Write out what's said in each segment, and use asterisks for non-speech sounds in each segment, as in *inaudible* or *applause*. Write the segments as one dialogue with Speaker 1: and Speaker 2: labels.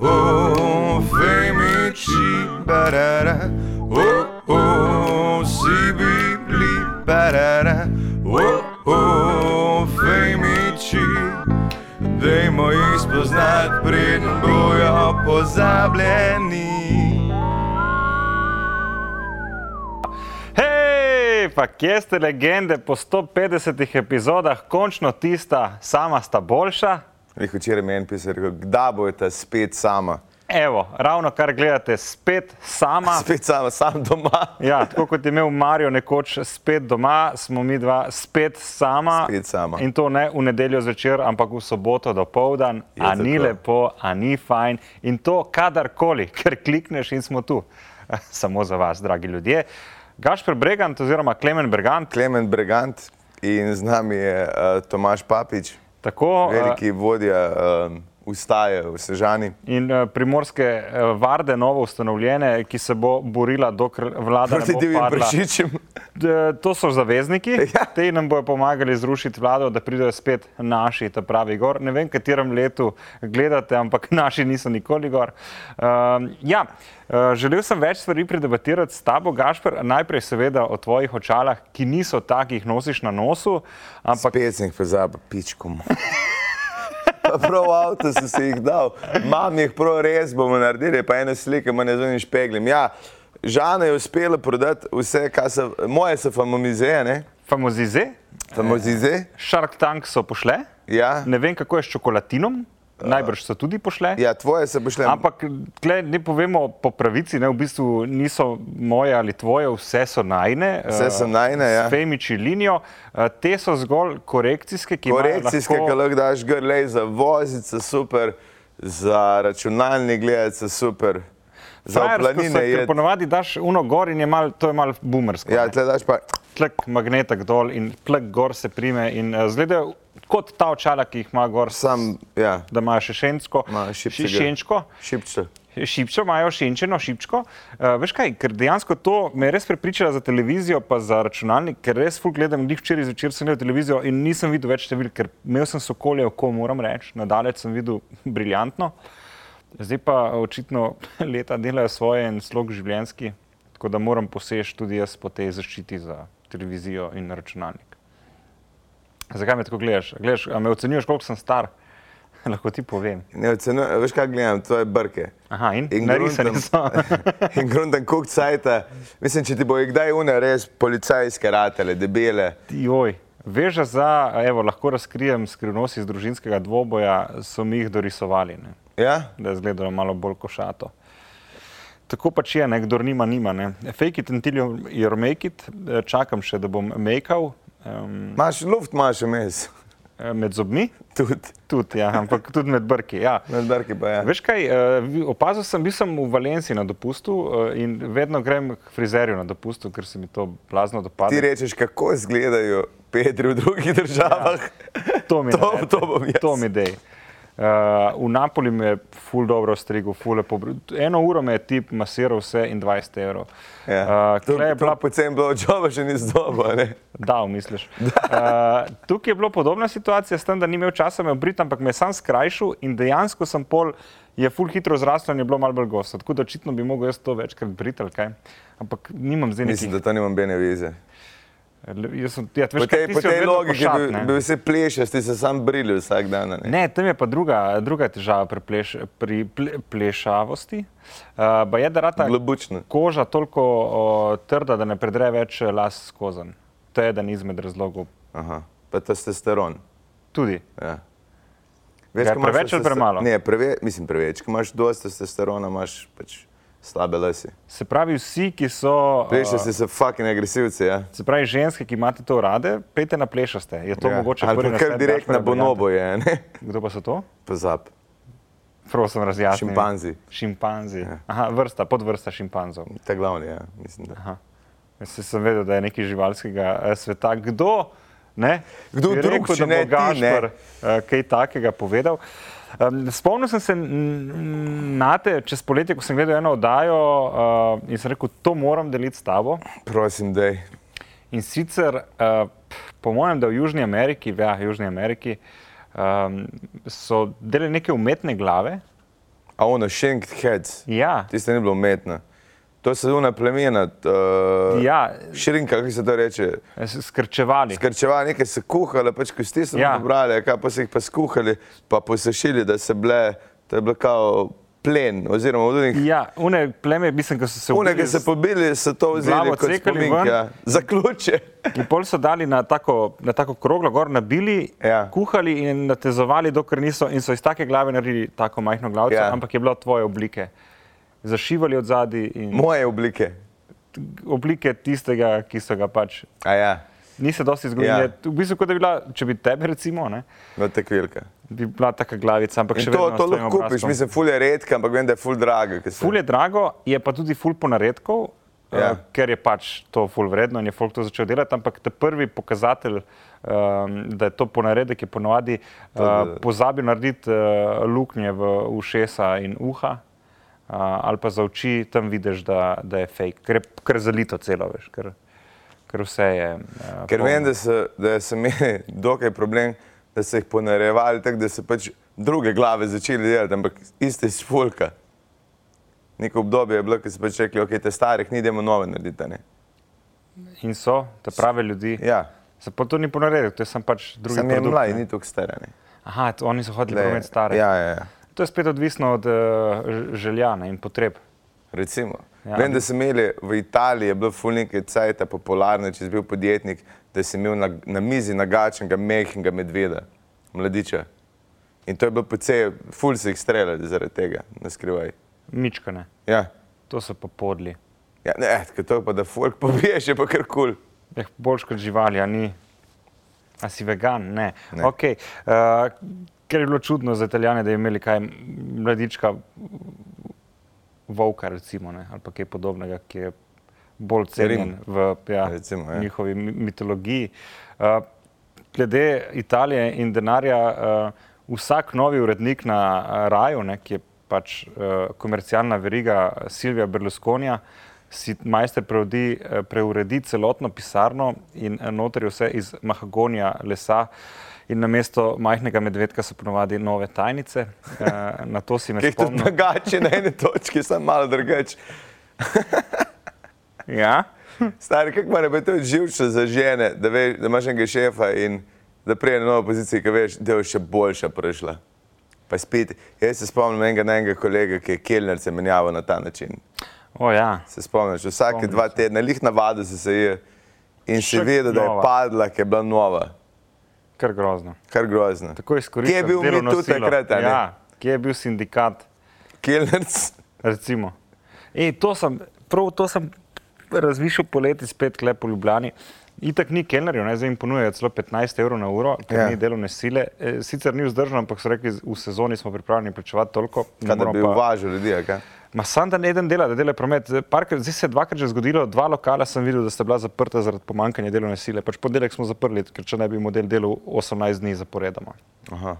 Speaker 1: oh, vem mi ti, barara, oh, oh, si bi bili, barara, oh, oh, vem mi ti. Dajmo jih spoznati, preden bojo pozabljeni.
Speaker 2: Hej, pa kje ste legende po 150 epizodah, končno tista, sama sta boljša?
Speaker 1: Lih včeraj mi je en pisal, rekel, kdaj bo ta spet sama.
Speaker 2: Evo, ravno kar gledate, spet sama.
Speaker 1: Spet sama, sam doma.
Speaker 2: Ja, tako kot je imel Marijo nekoč spet doma, smo mi dva spet sama.
Speaker 1: Spet sama.
Speaker 2: In to ne v nedeljo zvečer, ampak v soboto do povdan.
Speaker 1: Je
Speaker 2: A ni
Speaker 1: tako.
Speaker 2: lepo, a ni fajn. In to kadarkoli, ker klikneš in smo tu. *laughs* Samo za vas, dragi ljudje. Gašper Bregant oziroma Klemen Bergant,
Speaker 1: Klemen Bregant in z nami je uh, Tomaš Papič,
Speaker 2: tako eh,
Speaker 1: veliki vodja uh, ustaje v Sežani.
Speaker 2: in eh, primorske eh, varde, novo ustanovljene, ki se bo borila, dokler vlada ne
Speaker 1: Proti
Speaker 2: bo
Speaker 1: divjim
Speaker 2: padla.
Speaker 1: pršičem.
Speaker 2: D- To so zavezniki,
Speaker 1: Ja.
Speaker 2: ja. te nam bodo pomagali zrušiti vlado, da pridejo spet naši, ta pravi gor. Ne vem, katerem letu gledate, ampak *laughs* naši niso nikoli gor. Um, ja, eh, želel sem več stvari predebatirati s tabo, Gašpr, najprej seveda o tvojih očalah, ki niso takih, nosiš na nosu, *laughs* ampak
Speaker 1: Spet sem jih pozabil, pičko. mu. Pa Prav avto sem si jih dal, imam jih prav res, bomo naredili pa eno sliko, manj zunaj špeglem. Ja, Žana je uspela prodati vse, kar so, moje so famomize, ne?
Speaker 2: famozize,
Speaker 1: Famozize,
Speaker 2: Shark Tank so pošle,
Speaker 1: ja.
Speaker 2: ne vem, kako je s čokolatinom, najbrž so tudi pošle.
Speaker 1: Ja, tvoje se bo šle.
Speaker 2: Ampak tle ne povemo po pravici, ne, v bistvu niso moje ali tvoje, vse so najne.
Speaker 1: Vse
Speaker 2: eh,
Speaker 1: so najine, ja.
Speaker 2: S femiči linijo, Eh, te so zgolj korekcijske, ki imajo
Speaker 1: Korekcijske, ki
Speaker 2: lahko...
Speaker 1: lahko daš grlej za vozice, super, za računalnik gledalce, super, za
Speaker 2: frajersko se,
Speaker 1: planine
Speaker 2: ker
Speaker 1: je.
Speaker 2: Ponavadi daš uno gor in je mal, to je mal boomersko.
Speaker 1: Ja,
Speaker 2: Ja.
Speaker 1: tle daš pa.
Speaker 2: Tlek magnetek dol in tlek gor se prime in eh, zgledajo kot ta očala, ki jih ima gor,
Speaker 1: Sam, ja,
Speaker 2: da imajo še šenčko.
Speaker 1: Imajo šipčega.
Speaker 2: šenčko.
Speaker 1: šipče.
Speaker 2: Šipčo imajo šenčeno šipčko. Uh, veš kaj, ker dejansko to me je res prepričala za televizijo, pa za računalnik, ker res ful gledam, njih včeraj zvečer sem gledal televizijo in nisem videl več številk, ker imel sem sokolje oko, moram reči, nadalec sem videl *laughs* briljantno. Zdaj pa očitno *laughs* leta delajo svoje en slog življenski, tako da moram posež tudi jaz po tej zaščiti za televizijo in računalnik. Zakaj me tako gledaš? A gledaš a me ocenjuješ, koliko sem star? *laughs* Lahko ti povem.
Speaker 1: Ne ocenujem, veš kaj gledam, tvoje brke. *laughs*
Speaker 2: Aha, in, in
Speaker 1: In
Speaker 2: narisani so.
Speaker 1: *laughs* in grunten kuk cajta. Mislim, če ti bo kdaj une res policajske ratele, debele.
Speaker 2: Joj, veža za, evo, lahko razkrijem skrivnosti iz družinskega dvoboja, so mi jih dorisovali, ne?
Speaker 1: Ja?
Speaker 2: da je izgledalo malo bolj košato. Tako pač je, ne? kdor nima, nima. Ne? Fake it until you- you're make it, Eh, čakam še, da bom mekal um,
Speaker 1: Maš luft, maš vmes. *laughs*
Speaker 2: e, med zobmi,
Speaker 1: Tudi,
Speaker 2: tudi, ja, ampak tudi med brki. Ja.
Speaker 1: med brki pa ja.
Speaker 2: Veš kaj, eh, vi- opazil sem, bil sem v Valenciji na dopustu eh, in vedno grem k frizerju na dopustu, ker se mi to blazno
Speaker 1: Ti
Speaker 2: dopada.
Speaker 1: rečeš, kako izgledajo Petri v drugih
Speaker 2: Ja. *laughs*
Speaker 1: državah.
Speaker 2: To mi je.
Speaker 1: to, to bom jaz.
Speaker 2: To mi dej. Uh, v Napoli me je ful dobro strigel, ful lepo. br- Eno uro me je tip masiral vse in 20 evrov.
Speaker 1: Ja.
Speaker 2: Uh,
Speaker 1: to,
Speaker 2: tule je bila
Speaker 1: to pocen bilo od joba še ni zdobo. Ne?
Speaker 2: Dal,
Speaker 1: *laughs*
Speaker 2: misliš. Uh, tukaj je bila podobna situacija, s tem, da ni imel časa me obriti, ampak me je sam skrajšal in dejansko sem pol, je full hitro zrastel in je bilo malo bolj gosto. Tako da očitno bi mogel jaz to večkrat briti ali kaj. Ampak nimam zdaj
Speaker 1: Mislim,
Speaker 2: nekih.
Speaker 1: da to nimam bene vize.
Speaker 2: Le- jaz Sem, ja,
Speaker 1: Po
Speaker 2: veš, kaj,
Speaker 1: tej,
Speaker 2: ti
Speaker 1: po
Speaker 2: si jo
Speaker 1: tej
Speaker 2: vedno
Speaker 1: logiki
Speaker 2: pošat,
Speaker 1: bi,
Speaker 2: ne.
Speaker 1: bi vse plešal, ti se sam brili vsak dan. a Ne?
Speaker 2: Ne, tam je pa druga, druga težava pri, pleš, pri ple, plešavosti. Uh, je, da rata
Speaker 1: Globučno.
Speaker 2: koža toliko o, trda, da ne predre več eh, las skozen. To je eden izmed razlogov.
Speaker 1: Aha. Pa testosteron.
Speaker 2: Tudi.
Speaker 1: Ja. Veš, ko imaš
Speaker 2: Ga je Ja, preveč ali
Speaker 1: testoster-
Speaker 2: premalo?
Speaker 1: Ne, preve, mislim preveč. Ko imaš dosti testosterona, imaš pač slabe lase.
Speaker 2: Se pravi, vsi, ki so.
Speaker 1: Veš, da
Speaker 2: eh,
Speaker 1: si se fucking agresivci, ja.
Speaker 2: Se pravi, ženske, ki imate to rade, pejte na plešaste. Je to
Speaker 1: ja.
Speaker 2: mogoče
Speaker 1: Ali
Speaker 2: prvi
Speaker 1: pa kar
Speaker 2: nasvet
Speaker 1: direkt
Speaker 2: Gašperja
Speaker 1: na bonobo je, ne? *laughs*
Speaker 2: Berganta? Kdo pa so to?
Speaker 1: Pozab.
Speaker 2: Prosim, razjasnite.
Speaker 1: Šimpanzi. Ja.
Speaker 2: Šimpanzi. Aha, vrsta, podvrsta šimpanzov.
Speaker 1: Ta glavni, ja. Mislim, da.
Speaker 2: Aha. Jaz se- sem vedel, da je nekaj živalskega eh, sveta. Kdo, ne?
Speaker 1: Kdo
Speaker 2: bi
Speaker 1: drug,
Speaker 2: rekel,
Speaker 1: če
Speaker 2: da
Speaker 1: ne
Speaker 2: bo
Speaker 1: ti,
Speaker 2: Gašpar eh, kaj takega povedal? Um, spomnil sem se, mm, Nate, čez poletje, ko sem gledal eno oddajo uh, in sem rekel, to moram deliti s tabo.
Speaker 1: Prosim, dej.
Speaker 2: In sicer, uh, po mojem, da v Južni Ameriki, ja, v Južni Ameriki um, so delali neke umetne glave,
Speaker 1: A ono, shanked heads.
Speaker 2: Ja.
Speaker 1: Tiste ni bilo umetno. To so zunaj plemena. Uh,
Speaker 2: Ja.
Speaker 1: Širinka, kako se to reče.
Speaker 2: S- Skrčevali.
Speaker 1: Skrčevali, nekaj so kuhali, pač kosti so
Speaker 2: Ja.
Speaker 1: ja. pobrali, kaj pa so jih pa skuhali, pa posušili, da se bile, to je bilo kao plen, oziroma od njih.
Speaker 2: Ja, une pleme, mislim, ko so se
Speaker 1: One, ki
Speaker 2: ubili
Speaker 1: so
Speaker 2: z-
Speaker 1: pobili, so to
Speaker 2: glavo
Speaker 1: vzeli kot
Speaker 2: cekali
Speaker 1: spomin,
Speaker 2: ven.
Speaker 1: ja. zaključe.
Speaker 2: In pol so dali na tako, na tako kroglo, gor nabili,
Speaker 1: Ja.
Speaker 2: kuhali in natezovali, dokler niso. In so iz take glave naredili tako majhno glavico,
Speaker 1: Ja.
Speaker 2: ampak je bila tvoje oblike. Zašivali od zadaj in
Speaker 1: Moje oblike.
Speaker 2: oblike tistega, ki so ga pač.
Speaker 1: A ja,
Speaker 2: Ni se dosti zgodilo.
Speaker 1: Ja.
Speaker 2: Ja. V bistvu, kot da bi bila, če bi tebe, recimo, ne,
Speaker 1: no te kvilke.
Speaker 2: bi bila taka glavica, ampak še
Speaker 1: In to,
Speaker 2: vedno.
Speaker 1: to
Speaker 2: s tvojim
Speaker 1: lahko kupiš,
Speaker 2: obrazkom.
Speaker 1: mislim, ful je redka, ampak vem, da je ful draga. ker se-
Speaker 2: Ful je drago, je pa tudi ful ponaredkov,
Speaker 1: Ja.
Speaker 2: ja. uh, ker je pač to ful vredno in je folk to začel delati, ampak ta prvi pokazatelj, um, da je to ponaredek, je ponovadi uh,
Speaker 1: da-
Speaker 2: pozabil narediti uh, luknje v ušesa in uha. Uh, ali pa za oči tam vidiš, da, da je fake, ker je kar zalito celo, veš, ker, ker vse je. Uh,
Speaker 1: Ker
Speaker 2: polno.
Speaker 1: vem, da, se, da *laughs* sem imel dokaj problem, da so jih ponarejevali tako, da so pač druge glave začeli delati, ampak iste iz fulka. Neko obdobje je bilo, ki so pač rekli, ok, te starih ni, idemo nove narediti. a ne."
Speaker 2: In so, te prave ljudi.
Speaker 1: Ja,
Speaker 2: Se pa to ni ponaredek, to je sem pač drugi.
Speaker 1: sem je
Speaker 2: produkt,
Speaker 1: mlaj,
Speaker 2: ne.
Speaker 1: ni tako star. a ne.
Speaker 2: Aha, to, oni so hodili
Speaker 1: Glej,
Speaker 2: promet stare.
Speaker 1: Ja, ja, ja.
Speaker 2: To je spet odvisno od uh, želja ne, in potreb.
Speaker 1: Recimo. Ja.
Speaker 2: Ja.
Speaker 1: Vem, da so imeli v Italiji, je bilo fulnike cajta popularno, če si bil podjetnik, da si imel na, na mizi nagačenega mehkega medveda, mladiča. In to je bilo precej, ful se jih streljali zaradi tega, ne skrivaj.
Speaker 2: Mičkane,
Speaker 1: Ja.
Speaker 2: to so pa podli.
Speaker 1: Ja, ne, tako to je pa da folk pobiješ, je pa kar kul. Cool.
Speaker 2: Eh, boljš kot živali, a ni. A si vegan? Ne.
Speaker 1: Ne.
Speaker 2: ne. Okay. Uh, ker je bilo čudno za Italijane, da je imeli kaj mladička, volka recimo, ne, ali pa kaj podobnega, ki je bolj cenjen
Speaker 1: Rim.
Speaker 2: v ja,
Speaker 1: Recimo, ja.
Speaker 2: njihovi mi- mitologiji. Uh, glede Italije in denarja, uh, vsak novi urednik na uh, raju, ne, ki je pač uh, komercialna veriga eh, Silvija Berlusconija, si majster preudi, eh, preuredi celotno pisarno in eh, noter je vse iz mahagonija, lesa. In na mesto majhnega medvedka so ponovadi nove tajnice. Uh, na to si me
Speaker 1: Kaj tudi
Speaker 2: spomnil.
Speaker 1: nagače na eni točki, sem malo drugač.
Speaker 2: Ja?
Speaker 1: Stari, kako mora biti to živčno za žene, da, veš, da imaš enega šefa in da prije na novo pozicijo, ki veš, da je še boljša prišla. Pa spet, jaz se spomnim enega najmenjega kolega, ki je kelnerce menjaval na ta način.
Speaker 2: O, ja.
Speaker 1: Se spomniš, vsake dva tedna, lih navado se se je in si
Speaker 2: Še
Speaker 1: vedel, da je
Speaker 2: nova.
Speaker 1: padla, ki je bila nova.
Speaker 2: Kar grozno.
Speaker 1: Kar grozno.
Speaker 2: Tako izkoriščam.
Speaker 1: Kje je bil mi
Speaker 2: delovno
Speaker 1: tudi
Speaker 2: silo.
Speaker 1: takrat, a ne?
Speaker 2: Ja, kje je bil sindikat,
Speaker 1: Kelnerc.
Speaker 2: recimo. E, to sem, prav to sem razmišljal poleti spet klep v Ljubljani. Itak ni kelnerjev, ne, zdaj jim ponujajo celo 15 evrov na uro, ker
Speaker 1: Ja.
Speaker 2: ja. ni delovne sile. E, sicer ni vzdržno, ampak so rekli, v sezoni smo pripravljeni plačevati toliko. ne
Speaker 1: Kaj da
Speaker 2: moramo
Speaker 1: bi
Speaker 2: pa-
Speaker 1: uvažal ljudi, a kaj?
Speaker 2: Ma sam dan eden dela, da dela promet. Parkrat, zdaj se je dvakrat že zgodilo, dva lokala sem videl, da sta bila zaprta zaradi pomankanja delovne sile. Pač ponedeljek smo zaprli, ker če ne bi model delal 18 dni zaporedoma.
Speaker 1: Aha.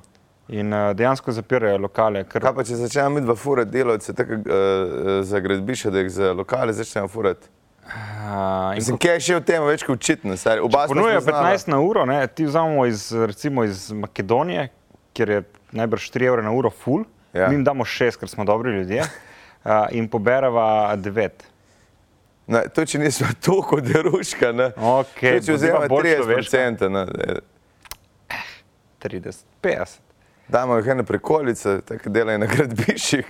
Speaker 2: In uh, dejansko zapirajo lokale, ker
Speaker 1: Kaj pa, če začnemo mi dva furati delavce, tako uh, za gradbišče, da jih za lokale začnemo furati?
Speaker 2: uh,
Speaker 1: Mislim, kaj je še v tem več kot očitno, stari. Oba sva
Speaker 2: ponujejo
Speaker 1: spoznala.
Speaker 2: 15 na uro, ne? ti vzamemo iz, recimo iz Makedonije, kjer je najbrž 4 evre na uro full,
Speaker 1: Ja.
Speaker 2: ja. mi jim damo 6, ker smo dobri
Speaker 1: *laughs*
Speaker 2: ljudje, uh, in poberava 9.
Speaker 1: Ne, to, če nismo toliko deruška, ne.
Speaker 2: Okej,
Speaker 1: to, če vzamemo
Speaker 2: dobiva bolj
Speaker 1: 30%, ne, eh,
Speaker 2: 30, 50.
Speaker 1: damo jih ene prekolice, tako delajo na gradbiščih.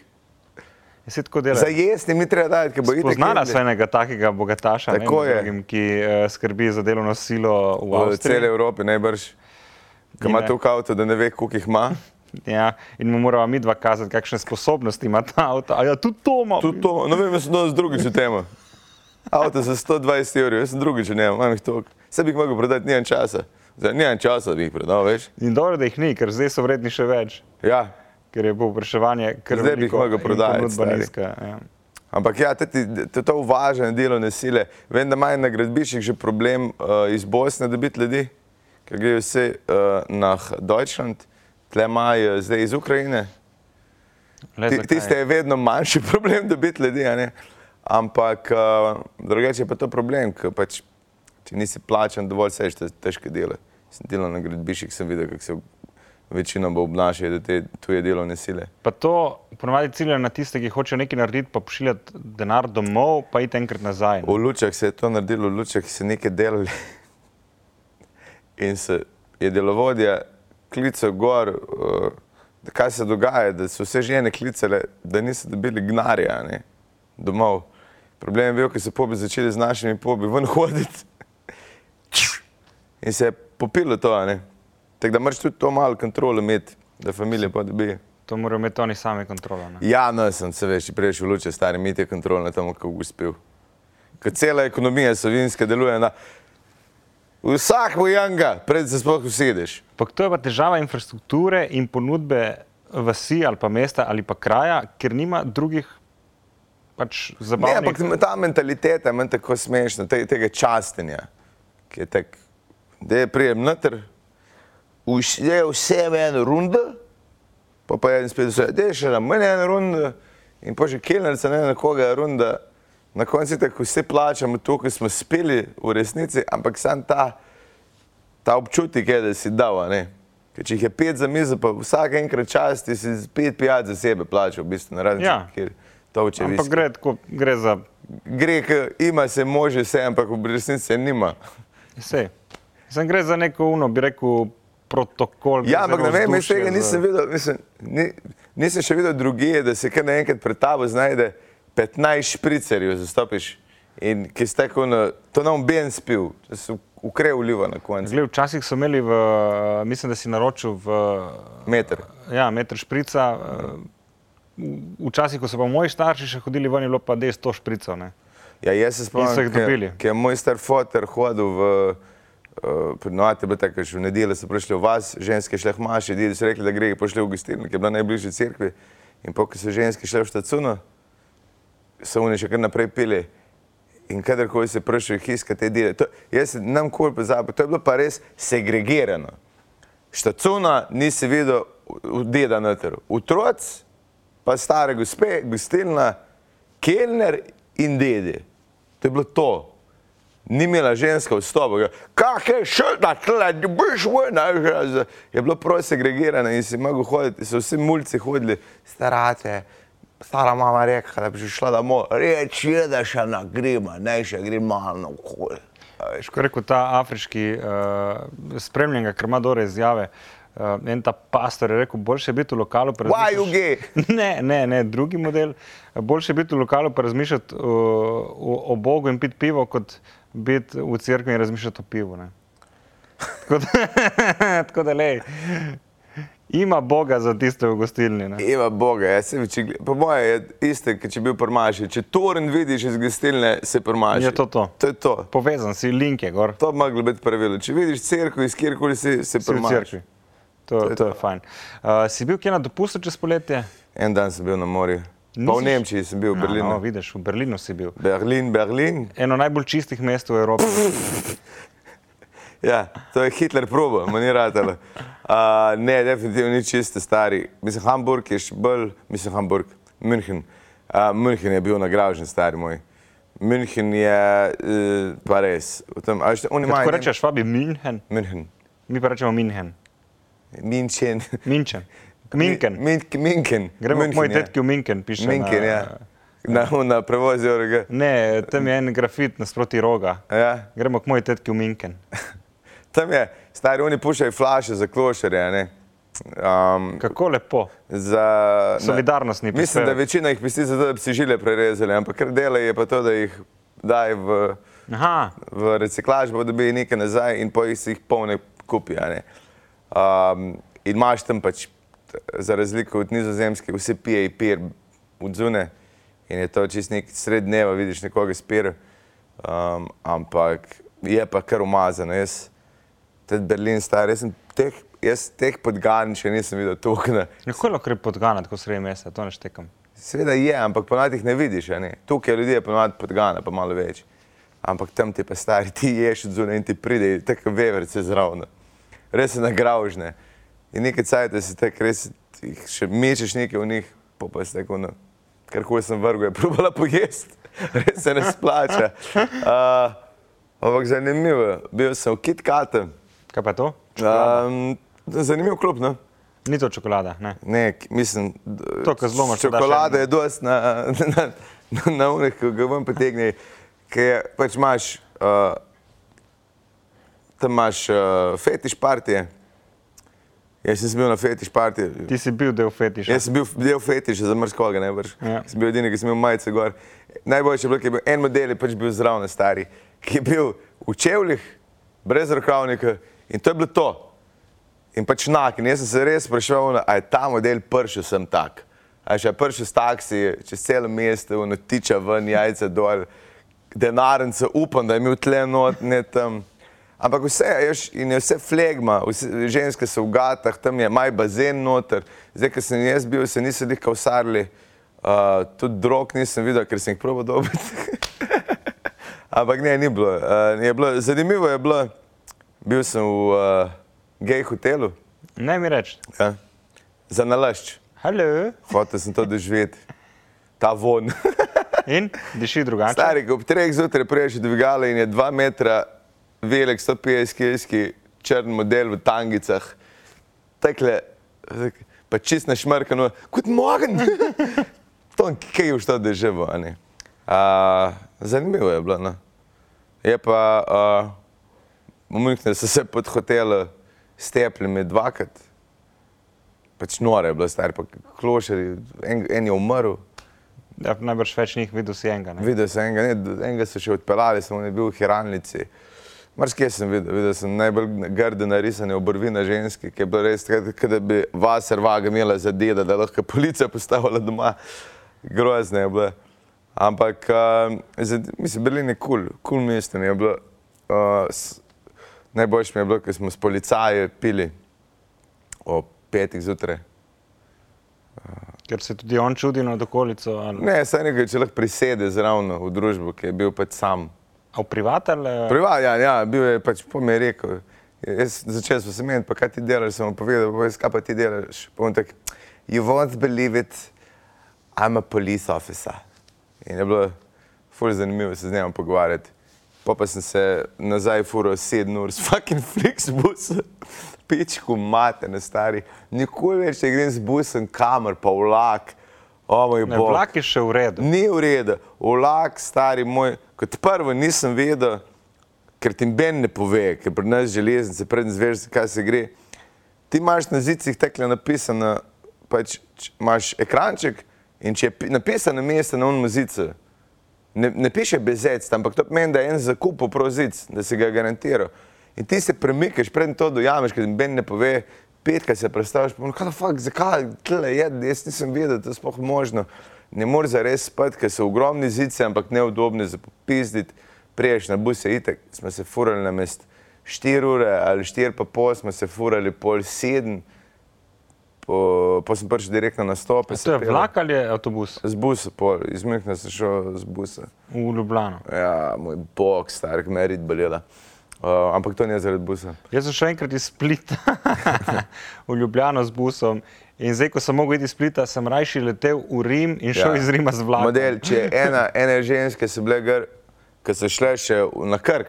Speaker 2: Je se tako dela.
Speaker 1: Za jesti mi treba dati, ker bojite.
Speaker 2: Poznala sem enega takega bogataša, ne,
Speaker 1: Tako
Speaker 2: med
Speaker 1: je.
Speaker 2: drugim, ki uh, skrbi za delovno silo v
Speaker 1: v
Speaker 2: Avstriji.
Speaker 1: celi Evropi najbrž. Ki ima
Speaker 2: Ni me.
Speaker 1: toliko avto, da ne ve, koliko jih ima.
Speaker 2: Ja, in mu moramo mi dva kazati, kakšne sposobnosti ima ta avto. A ja, tudi to ima.
Speaker 1: Tudi to, no vem, jaz sem danes drugič v temo. Avto za 120 evrov, jaz sem drugič v njem, imam jih toliko. Se bi jih mogel prodati, nimam časa. Zdaj, nimam časa, da bi jih prodal, veš.
Speaker 2: In dobro, da jih ni, ker zdaj so vredni še več.
Speaker 1: Ja.
Speaker 2: ker je povpraševanje kar
Speaker 1: Zdaj bi jih
Speaker 2: veliko
Speaker 1: mogel
Speaker 2: in
Speaker 1: prodajati,
Speaker 2: ponudba
Speaker 1: stari.
Speaker 2: nizka, ja.
Speaker 1: Ampak ja, te, te, te to uvažanje delovne sile. Vem, da imajo na gradbiščih že problem uh, iz Bosne dobiti ljudi, ker grejo vse uh, na Deutschland, tle imajo zdaj iz Ukrajine.
Speaker 2: Le
Speaker 1: Ti-
Speaker 2: zakaj?
Speaker 1: Tiste je vedno manjši *laughs* problem dobiti ljudi, a ne? ampak uh, drugače je pa to problem, ker pač, če nisi plačen dovolj, seš te težke dele. Sem delal na gradbiščih, sem videl, kako se večinoma obnašajo te tuje delovne sile.
Speaker 2: Pa to ponovadi cilja na tiste, ki hočejo nekaj narediti, pa pošiljati denar domov, pa iti enkrat nazaj.
Speaker 1: V Lučah se je to naredilo, v Lučah se je nekaj delali. *laughs* In se je delovodja klical gor, eh, da kaj se dogaja, da so vse žene klicale, da niso dobili gnarja ne, domov. Problem je bil, ker so pobi začeli z našimi pobi ven hoditi *laughs* in se je popilo to. a ne. Tako da moraš tudi to malo kontrolo imeti, da familije pa dobijo.
Speaker 2: To morajo imeti oni sami kontrolo. Ne?
Speaker 1: Ja, no, sem se veš, prejš v luče, stari mit je kontrol na tem, kako uspel. Ker cela ekonomija slovenske deluje na vsak vojanga, pred se sploh usedeš.
Speaker 2: Ampak to je pa težava infrastrukture in ponudbe vasi ali pa mesta ali pa kraja, ker nima drugih pač
Speaker 1: Ne,
Speaker 2: zabavnih.
Speaker 1: ampak ta mentaliteta je meni tako smešna, te, tega častenja, ki je tako, da je prijem noter, vš- da je vse v eno rundo, pa pa je en spet vse, da je še na meni eno rundo in pa že kelnerca ne na koga je runda. Na koncu je tako vse plačamo to, kar smo spili v resnici, ampak sam ta, ta občutek je, da si dal, a ne. Ker če jih je pet za mizo, pa vsak enkrat čas ti si pet pijat za sebe plačal, v bistvu, na razen,
Speaker 2: Ja.
Speaker 1: kjer to vče
Speaker 2: Ampak gre, tako, gre za
Speaker 1: gre, k, ima se može vse, ampak v resnici se nima.
Speaker 2: vse. Sem gre za neko uno, bi rekel, protokol. gre
Speaker 1: Ja,
Speaker 2: za
Speaker 1: ampak ne
Speaker 2: neko
Speaker 1: vem, jaz
Speaker 2: vzdušje
Speaker 1: tega
Speaker 2: za-
Speaker 1: nisem videl, mislim, ni, nisem še videl druge, da se kar naenkrat pred tabo znajde 15 špricerjev, zastopiš. In ki ste tako, na- to nam ben spil, da se ukrev uliva na koncu.
Speaker 2: Glej, včasih so imeli, v, mislim, da si naročil v
Speaker 1: Meter.
Speaker 2: ja, meter šprica. eh, Včasih, ko so pa moji starši še hodili ven, je bilo pa 10 špricov. ne.
Speaker 1: Ja, jaz se
Speaker 2: In so jih
Speaker 1: spomnim,
Speaker 2: dobili.
Speaker 1: ki je moj star fotor hodil v eh, Prinovate, bilo tako, že v nedeljo so prišli v vas, ženske šle hmaši, didi so rekli, da gre, pošli v gostilno, ki je bila najbližje cerkvi. In pokaj so ženske šle v štacuno, so oni še kar naprej pili. In kadarkoli se prišel hiska te dele, to, jaz se nam kul pozabil, to je bilo pa res segregirano. Štacuna nisi videl v- v deda noter. Otroc, pa stare gospe, gostilna, kelner in dedi. To je bilo to. Ni imela ženska vstopa. Kakšne šrta, tle, boš vojna. Je bilo prav segregirano in si mogel hoditi, so vsi mulci hodili, starate. Stara mama je rekla, da bi že šla domov, reči je, da še na grima, ne še grima na okolje.
Speaker 2: Veš, ko je rekel ta afriški uh, spremljen, ker ima dobre izjave, uh, en ta pastor je rekel, boljše je biti v lokalu. pa
Speaker 1: Why you
Speaker 2: razmišljaš-
Speaker 1: gay?
Speaker 2: *laughs* Ne, ne, ne, drugi model. Boljše je biti v lokalu pa razmišljati uh, o, o Bogu in piti pivo, kot biti v cerkvi in razmišljati o pivu. ne. Tako da, *laughs* tako da lej, ima Boga za tiste v gostilni. ne.
Speaker 1: Ima Boga, jaz sem več. Po mojem je isto, kot če bi bil prmašil. Če toren vidiš iz gostilne, se prmašiš.
Speaker 2: Je to to?
Speaker 1: To je to.
Speaker 2: Povezan si, link je gor.
Speaker 1: To bi moglo biti pravilo. Če vidiš crkvo iz kjerkoli si, se
Speaker 2: Si v
Speaker 1: premaš.
Speaker 2: cerkvi. To, to je fajn. Uh, si bil kje na dopustu čez poletje?
Speaker 1: En dan sem bil na morju. Pa
Speaker 2: Nisi
Speaker 1: v
Speaker 2: š-
Speaker 1: Nemčiji sem bil, v Berlinu.
Speaker 2: No, no, vidiš, v Berlinu si bil.
Speaker 1: Berlin, Berlin.
Speaker 2: Eno najbolj čistih mest v Evropi.
Speaker 1: Ja, to je Hitler proba, mu ni ratalo. Uh, ne, definitivno ni čiste stari. Mislim, Hamburg je še bolj, mislim, Hamburg, München. Uh, München je bil nagražen, stari moj. München je uh, pa res. V Tem, a veš, oni
Speaker 2: Ko
Speaker 1: imajo
Speaker 2: rečeš, švabi München,
Speaker 1: München.
Speaker 2: mi pa rečemo München.
Speaker 1: Minchen.
Speaker 2: Minčen. Minken.
Speaker 1: Min, Minken.
Speaker 2: Gremo k moji
Speaker 1: ja.
Speaker 2: tetki v Minken, piše.
Speaker 1: Minken,
Speaker 2: na,
Speaker 1: ja. Na, na prevozu ORG.
Speaker 2: Ne, tam je en grafit nasproti roga.
Speaker 1: Ja.
Speaker 2: Gremo k moji tetki v Minken.
Speaker 1: Tam je, stari oni pušajo flaše za klošarje. a ne. Um,
Speaker 2: Kako lepo.
Speaker 1: za,
Speaker 2: Solidarnostni
Speaker 1: ne, Mislim, da
Speaker 2: prispevek.
Speaker 1: večina jih pesti zato, da bi si žile prerezali, ampak kar dela je pa to, da jih daj v,
Speaker 2: Aha,
Speaker 1: v reciklaž, pa dobijo nekaj nazaj in pa jih se jih polne kupi. a ne. Um, in imaš tam pač, t- za razliko od nizozemske, vse pije in pir od zune in je to čist nek sred dneva, vidiš nekoga s pir, um, ampak je pa kar umazano. Jaz, Tudi Berlin, star, jaz sem teh, jaz teh podgan še nisem videl tukaj.
Speaker 2: kako je lahko gre podgana tako sredi mesta, to ne štekam.
Speaker 1: Seveda je, ampak ponavadi jih ne vidiš. a Ne? Tukaj ljudje ponavadi podgana, pa malo več. Ampak tam ti pa stari, *laughs* ti ješ od zunaj in ti pride, tako veverce zraven. Res je nagražne. In nekaj cajt, da si tako res jih še mečeš nekaj v njih, pa pa si tako, no, kar koli sem vrgel, je probala *laughs* pojesti, res se ne splača. Uh, ampak zanimivo, bil sem v Kitkatu.
Speaker 2: Kaj pa to?
Speaker 1: Um, zanimiv klub, ne?
Speaker 2: Ni to čokolada, ne.
Speaker 1: Ne, k- mislim, d-
Speaker 2: To, ko zlomaš, pa daš
Speaker 1: čokolada
Speaker 2: en-
Speaker 1: je dosti na, *laughs* na, na, na unih, ki ga ven potegne, ker pač imaš, uh, tam imaš uh, fetiš partije. Jaz nisem bil na fetiš partiji.
Speaker 2: Ti si bil del fetiša.
Speaker 1: Jaz sem bil del fetiša za mrzkoga, ne vrš.
Speaker 2: Ja.
Speaker 1: Ja. Sem bil edini, ki sem imel majice gor. Najboljše je bilo, ker je bil en model, je pač bil zraven stari, ki je bil v čevljih, brez rokavnika in to je bilo to. In pač nak, in jaz sem se res spraševal, ali je ta model pršel sem tak. A še pršel s taksi, čez celo mesto, notiča ven, jajca dol, denarnice, upam, da je imel tle not, ne tam. Ampak vse je, in je vse flegma, vse, ženske so v gatah, tam je maj bazen noter. Zdaj, ker sem jaz bil, se nisem dihkal v Sarli, uh, tudi drog nisem videl, ker sem jih probo dobil. *laughs* Ampak ne, ni bilo. Uh, je bilo. Zanimivo je bilo, bil sem v uh, gej hotelu,
Speaker 2: Ne mi reči.
Speaker 1: ja. za nalašč.
Speaker 2: Halo.
Speaker 1: Hotel sem to doživeti, ta von.
Speaker 2: In diši drugače.
Speaker 1: Stari, ko ob treh zjutraj priješ dvigala in je dva metra velik, 150 kilski črn model v tangicah, tekle, pa čist našmrkano, kot mogen. *laughs* to, kaj je v to deževo, a ne. A, zanimivo je bilo, no. Je pa, a, v Münchnu so se pod hotel stepljami dvakrat. Pač nore je bilo, star, pa klošari, en, en je umrl.
Speaker 2: Ja, najbrž več njih videl si enega. Ne?
Speaker 1: Videl sem enega, ne, d- enega so še odpeljali, samo ne bil v hiralnici. Mrzkje sem videl, videl sem najbolj grde narisane obrvi na ženski, ki je bilo res, tako, kot da bi vas rvaga imela za deda, da lahko policija postavila doma. Grozne je bilo. Ampak, uh, mislim, Berlin je kul, cool, kul cool mesto mi je bilo. Uh, s- Najboljše mi je bilo, ko smo s policaji pili ob petih zjutraj.
Speaker 2: Ker se tudi on čudi na okolico. Ali...
Speaker 1: Ne, saj nekaj, če lahko prisede zraven v družbo, ki je bil pač sam.
Speaker 2: A v privat ali? eh,
Speaker 1: Privat, ja, ja, bil je pač po mi je rekel. Jaz začel sem se meniti, pa kaj ti delaš, sem mu povedal, pa jaz, kaj pa ti delaš. Pa on tak, you won't believe it, I'm a police officer. In je bilo fur zanimivo se z njim pogovarjati. Pa pa sem se nazaj furo sedem ur s fucking *laughs* Flixbusom, pičku mate na stari. Nikoli več ne grem z busom kamer, pa vlak. O moj
Speaker 2: Ne,
Speaker 1: bog.
Speaker 2: vlak je še v redu.
Speaker 1: Ni v redu, vlak, stari moj. Kot prvo nisem vedel, ker ti Ben ne pove, ker pri nas železnice, prednji zveš, kaj se gre. Ti imaš na zicih tekle napisano, pač č- imaš ekranček in če je pi- napisano mesto na unmu zicu, ne, ne piše bezec, ampak to pomeni, da je en zakup oprav zic, da si ga garantiral. In ti se premikaš, predtem to dojameš, ker ti Ben ne pove, petka se predstaviš, pa kaj fuk, zakaj, tle je, jaz nisem vedel, to je sploh možno. Ne moreš zares spati, ker so ogromni zice, ampak neudobni za popizditi. Priješ na buse, itek smo se furali na mest 4 ure ali 4 pa pol, smo se furali pol 7, po, pa sem prišel direktno na stop.
Speaker 2: To je vlak ali je avtobus
Speaker 1: Z busa, pol, iz Münchna sem šel z busa.
Speaker 2: v Ljubljano?
Speaker 1: Ja, moj bog, star, merit bolela. Uh, ampak to ni zaradi busa.
Speaker 2: Jaz sem še enkrat iz Splita *laughs* v Ljubljano z busom in zdaj, ko sem mogel iti iz Splita, sem rajši letel v Rim in šel ja. iz Rima z vlakom.
Speaker 1: Model, če je ena, ene ženske so bile gor, ki so šle še v- na Krk,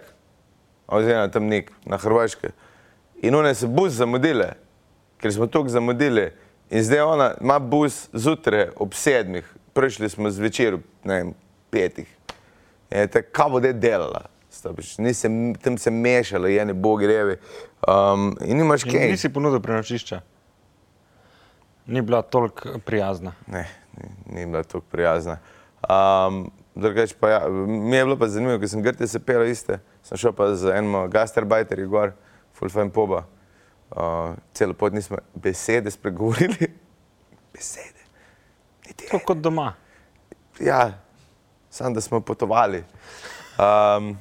Speaker 1: oziroma tam nek, na Hrvaške. In one so bus zamudile, ker smo tukaj zamudili. In zdaj ona ima bus zjutraj ob sedmih, prišli smo zvečer ob ne vem, petih. In je tako, kaj bo zdaj delala? Stopiš, nisem, tam se mešala, je ne bo grevi. Um, in nimaš
Speaker 2: In
Speaker 1: kaj.
Speaker 2: Nisi ponudil prenočišča. Ni bila toliko prijazna.
Speaker 1: ne, ni, ni bila tako prijazna. Um, drugač pa ja, mi je bilo pa zanimivo, ker sem Grti se pel iste, sem šel pa z enim gastarbajterjem gor, full fan poba. Uh, celo pot nismo besede spregovorili, *laughs* besede. Niti
Speaker 2: Tako kot doma.
Speaker 1: ja, samo da smo potovali. Um,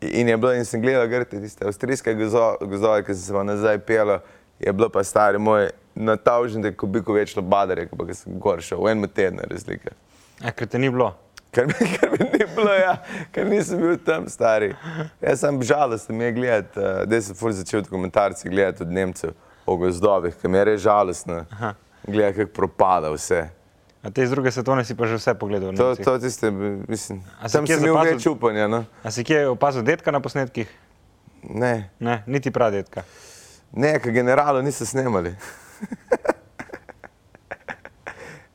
Speaker 1: in je bilo, in sem gledal grte, tiste avstrijske gozo- gozdove, ki sem se vam nazaj pel, je bilo pa stari moj natavžen, da je kubiko več lobadarja, kot pa ko sem gor šel, v enem tednu je razlika.
Speaker 2: A, ker te ni bilo.
Speaker 1: Ker mi, *laughs* ker mi ni bilo, ja, ker nisem bil tam stari. Jaz sem žalosten, mi je gledati, eh, zdaj sem fur začel dokumentarce gledati od Nemcev o gozdovih, ker mi je res žalostno.
Speaker 2: Aha.
Speaker 1: Gleda, kako propada vse.
Speaker 2: A te iz druge svetovne si pa že vse pogledal.
Speaker 1: To,
Speaker 2: Nemcih.
Speaker 1: to je tiste, mislim,
Speaker 2: A si
Speaker 1: tam
Speaker 2: kje
Speaker 1: sem imel
Speaker 2: zapazil-
Speaker 1: več upanja. No?
Speaker 2: A si kje opazil detka na posnetkih?
Speaker 1: Ne,
Speaker 2: Ne, niti prav detka.
Speaker 1: ne, ker generalov niso snemali. *laughs*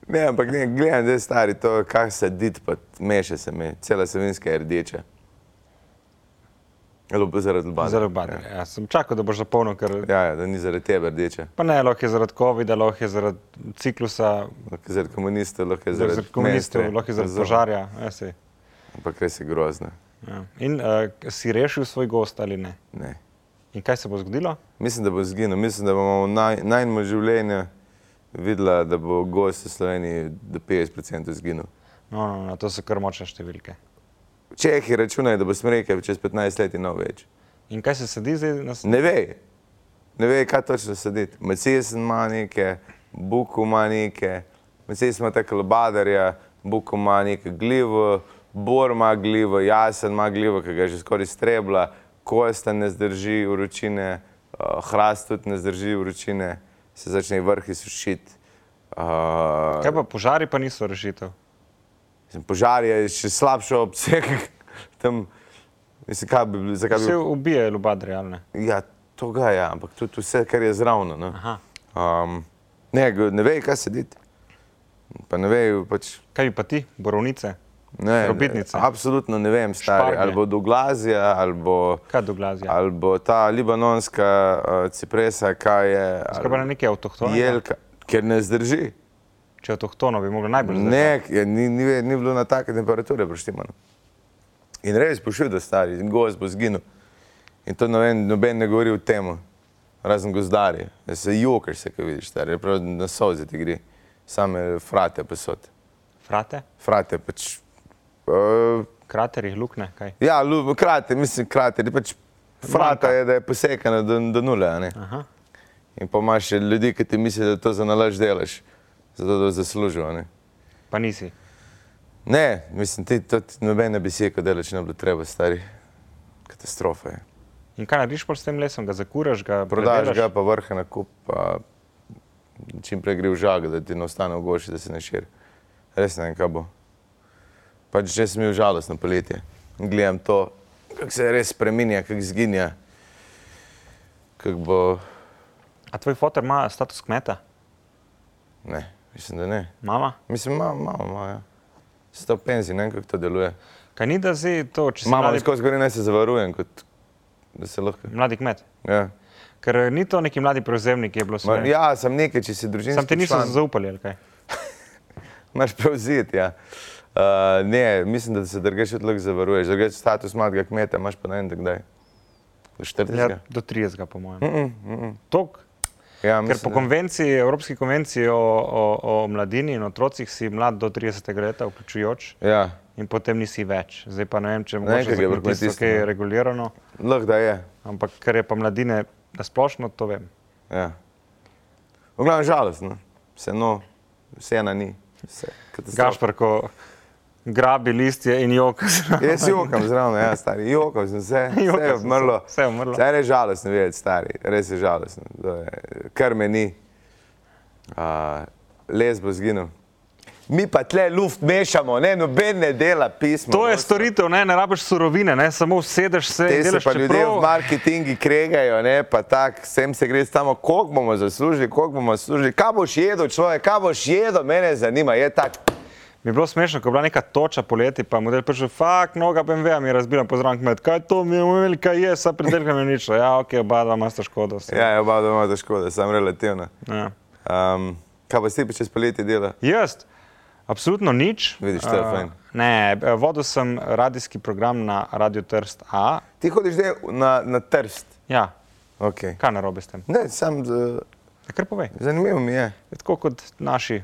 Speaker 1: Ne, ampak ne, gledam, da je stari to, kar saditi, pa meša se mi, cela savinska je rdeča. Ali pa zaradi lubanja.
Speaker 2: Zelo barvne. Ja, sem čakal, da boš zapolnil, ker
Speaker 1: Ja, ja, da ni zaradi tebe rdeča.
Speaker 2: pa ne, lahko je zaradi COVID-a, lahko je zaradi ciklusa,
Speaker 1: Lahko je Zaradi komunistov, lahko je zaradi,
Speaker 2: zaradi komunistov,
Speaker 1: mesta.
Speaker 2: lahko je zaradi
Speaker 1: Razumem.
Speaker 2: požarja. Ja, saj.
Speaker 1: Ampak res je grozno.
Speaker 2: ja. In uh, si rešil svoj gost ali ne?
Speaker 1: Ne.
Speaker 2: In kaj se bo zgodilo?
Speaker 1: Mislim, da bo zginil, mislim, da bomo naj, najmo življenje videla, da bo gost v Sloveniji do 50% zginil.
Speaker 2: No, no, no, to so kar močne številke.
Speaker 1: Čehi računajo, da bo smreke čez 15 let in nov več.
Speaker 2: In kaj se sedi zdaj na svetu?
Speaker 1: Ne ve, ne ve, kaj točno sedeti. Mercedes ima neke, Buku ima neke, Mercedes ima tako lobadarja, Buku ima neke glivo, Bor ima glivo, Jasen ima glivo, ki ga je že skoraj strebla, Kosta ne zdrži vročine, uh, Hrast tudi ne zdrži vročine, se začne vrhi sušiti. Uh,
Speaker 2: Kaj pa požari pa niso rešitev?
Speaker 1: mislim, požar je še slabši ob vseh *laughs* tam. Mislim, kaj bi, bilo- zakaj bi
Speaker 2: Vse ubije ljubad realne.
Speaker 1: Ja, to ga je, ampak tudi vse, kar je zraven. Ne?
Speaker 2: Aha.
Speaker 1: Um, ne, g- ne ve, kaj sedeti. Pa ne ve, pač.
Speaker 2: Kaj bi pa ti, borovnice?
Speaker 1: Ne,
Speaker 2: Robitnice.
Speaker 1: absolutno ne vem, stari,
Speaker 2: Šparglje.
Speaker 1: ali bo Douglazija, ali bo,
Speaker 2: Kaj do glazja?
Speaker 1: ali bo ta libanonska uh, cipresa, kaj je.
Speaker 2: Kaj pa na nekaj avtohtonega?
Speaker 1: Jelka, ker ne zdrži.
Speaker 2: Če avtohtono bi moglo najbolj zdržati.
Speaker 1: Ne, je, ni, ni, ve- ni bilo na take temperature preštimano. In res pošil, da stari, in gost bo zginil. In to noben, noben ne govori o tem, razen gozdarje. Da se jokaš, se kaj vidiš, stari, prav na sozi ti gre, same frate posod.
Speaker 2: Frate,
Speaker 1: Frate pač. Uh,
Speaker 2: kraterih, lukne, kaj?
Speaker 1: ja, ljub, krate, mislim, krate, pač frata
Speaker 2: Manjka.
Speaker 1: je, da je posekana do, do nule. a ne.
Speaker 2: Aha.
Speaker 1: In pa imaš še ljudi, ki ti mislijo, da to za nalaž delaš, zato da zaslužijo. a ne.
Speaker 2: Pa nisi.
Speaker 1: Ne, mislim, ti tudi nobene besede, kot delaš, ne bi bilo treba, stari. Katastrofa je.
Speaker 2: In kaj narediš pol s tem lesom? Ga zakuraš, ga
Speaker 1: Prodaš
Speaker 2: predelaš?
Speaker 1: ga, pa vrhe na kup, pa čim prej gre v žag, da ti ne ostane v goši, da se ne širi. Res ne vem, kaj bo. Pač že sem imel žalostno poletje. In Gledam to, kako se res spreminja, kako zginja. Kako bo,
Speaker 2: A tvoj fotor ima status kmeta?
Speaker 1: ne, mislim, da ne.
Speaker 2: Mama?
Speaker 1: Mislim, malo, malo, malo. Ja. Se to penzi, ne vem, kako to deluje.
Speaker 2: Kaj ni da zdaj to, če si
Speaker 1: Mama,
Speaker 2: mladi,
Speaker 1: skozi gori naj se zavarujem, kot da se lahko.
Speaker 2: mladi kmet?
Speaker 1: Ja.
Speaker 2: Ker eh, ni to neki mladi prevzemnik, ki je bilo
Speaker 1: Ma,
Speaker 2: svoje.
Speaker 1: ja, sem nekaj, če si družinski
Speaker 2: Sam ti niso
Speaker 1: član,
Speaker 2: zaupali, ali kaj?
Speaker 1: Imaš prevzeti, ja. Uh, ne, mislim, da se drugače odlog zavaruješ. Drugače status mladega kmeta imaš pa ne vem, do kdaj. Do 40?
Speaker 2: Ja,
Speaker 1: Ja,
Speaker 2: do 30, po mojem. Mm -mm, mm -mm. Tok?
Speaker 1: ja
Speaker 2: Ker po
Speaker 1: mislim, da-
Speaker 2: konvenciji, Evropski konvenciji o, o, o mladini in otrocih si mlad do 30 let, vključujoč,
Speaker 1: Ja,
Speaker 2: in potem nisi več. Zdaj pa ne vem, če mogoče
Speaker 1: ker
Speaker 2: za
Speaker 1: je pri
Speaker 2: kmetijstvo
Speaker 1: kmetijstvu,
Speaker 2: kaj
Speaker 1: ne.
Speaker 2: je regulirano,
Speaker 1: lahko da je.
Speaker 2: ampak ker je pa mladine nasplošno, to vem.
Speaker 1: Ja. V glavnem žalostno, vseeno, vseeno ni. Vse, katastrofa.
Speaker 2: Gašpr, ko grabi listje in
Speaker 1: *laughs*
Speaker 2: jok.
Speaker 1: Jaz jokam zraven, ja, stari, jokam sem se,
Speaker 2: *laughs* Jokal
Speaker 1: vse je
Speaker 2: sem se,
Speaker 1: umrlo.
Speaker 2: vse je umrlo.
Speaker 1: Zdaj je žalostno videti, stari, res je žalostno. To je- Kar me ni, uh, les bo zginil. Mi pa tle luft mešamo, ne, noben ne dela pismo.
Speaker 2: To je
Speaker 1: nosim.
Speaker 2: storitev, ne, ne rabiš surovine, ne, samo sedeš se in
Speaker 1: Te se
Speaker 2: delaš
Speaker 1: pa ljudje
Speaker 2: čeprav-
Speaker 1: v marketingu kregajo, ne, pa tako, sem se gre samo, koliko bomo zaslužili, koliko bomo zaslužili, kaj boš jedel človek, kaj boš jedel, mene zanima, je tak.
Speaker 2: Mi je bilo smešno, ko je bila neka toča poleti, pa je model prišel, fuk, noga BMW mi je razbila, pozdravljen kmet, kaj to mi je umeli, kaj je, sa pridelka mi je nič, ja, ok, oba dva imata škodo. vse.
Speaker 1: Ja, je oba doma za škoda, sem relativna.
Speaker 2: Ja.
Speaker 1: Um, kaj pa si pa čez poletje dela?
Speaker 2: Jaz, absolutno nič.
Speaker 1: Vidiš, to je
Speaker 2: Eh,
Speaker 1: fajn.
Speaker 2: Ne, eh, vodil sem radijski program na Radio Trst A.
Speaker 1: Ti hodiš zdaj na, na trst.
Speaker 2: Ja,
Speaker 1: Okay.
Speaker 2: kaj narobe s tem?
Speaker 1: Ne, sam z,
Speaker 2: Ja, Kar povej.
Speaker 1: zanimivo mi je.
Speaker 2: Je Tako kot naši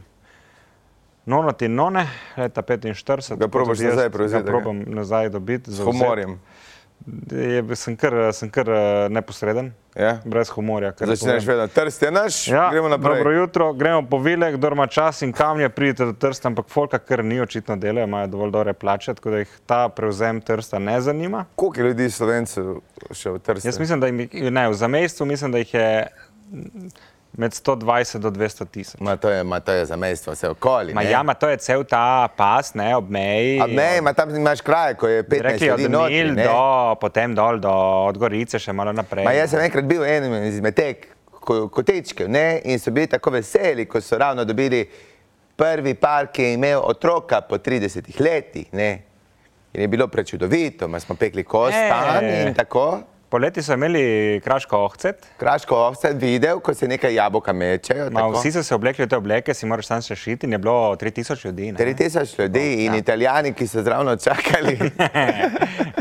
Speaker 2: nonoti in none, leta 45.
Speaker 1: Ga
Speaker 2: tako
Speaker 1: probaš
Speaker 2: tudi jaz
Speaker 1: nazaj prevzeti,
Speaker 2: Ga
Speaker 1: a
Speaker 2: probam nazaj dobiti.
Speaker 1: S humorjem.
Speaker 2: Je, sem kar, sem kar eh, neposreden,
Speaker 1: Ja?
Speaker 2: brez humorja. kar
Speaker 1: Začneš
Speaker 2: povem.
Speaker 1: vedno, trst je naš, ja,
Speaker 2: Ja,
Speaker 1: gremo naprej.
Speaker 2: Dobro jutro, gremo po vile, kdo ima čas in kamnje, pridite do Trsta, ampak folka kar ni očitno delajo, imajo dovolj dobre plače, tako da jih ta prevzem Trsta ne zanima.
Speaker 1: Koliko je ljudi Slovencev še v trst?
Speaker 2: Jaz mislim, da jim, je- ne, v zamestju mislim, da jih je med 120 do 200 tisoč.
Speaker 1: Ma to je, ma to je za mestvo, vse okoli.
Speaker 2: Ja, Ma
Speaker 1: ne?
Speaker 2: jama, to je cel ta pas, ne, ob meji.
Speaker 1: A ne, ma tam imaš kraje, ko je 15
Speaker 2: Rekli od
Speaker 1: ljudi notri,
Speaker 2: Nil
Speaker 1: ne.
Speaker 2: do, potem dol do od Gorice še malo naprej.
Speaker 1: Ma jaz sem enkrat bil en izmed tek, ko, kotečkov ne? in so bili tako veseli, ko so ravno dobili prvi par, ki je imel otroka po 30 letih. Ne? In je bilo prečudovito, ma smo pekli kost
Speaker 2: E.
Speaker 1: tam in tako.
Speaker 2: Poleti so imeli kraško ohcet,
Speaker 1: Kraško ovce videl, ko se nekaj jabolka mečejo.
Speaker 2: ma,
Speaker 1: tako.
Speaker 2: vsi so se oblekli v te obleke, si moraš sam še šiti in je bilo 3000 ljudi. ne.
Speaker 1: 3000
Speaker 2: Ja.
Speaker 1: ljudi in italijani, ki so zraven
Speaker 2: *laughs*
Speaker 1: čakali.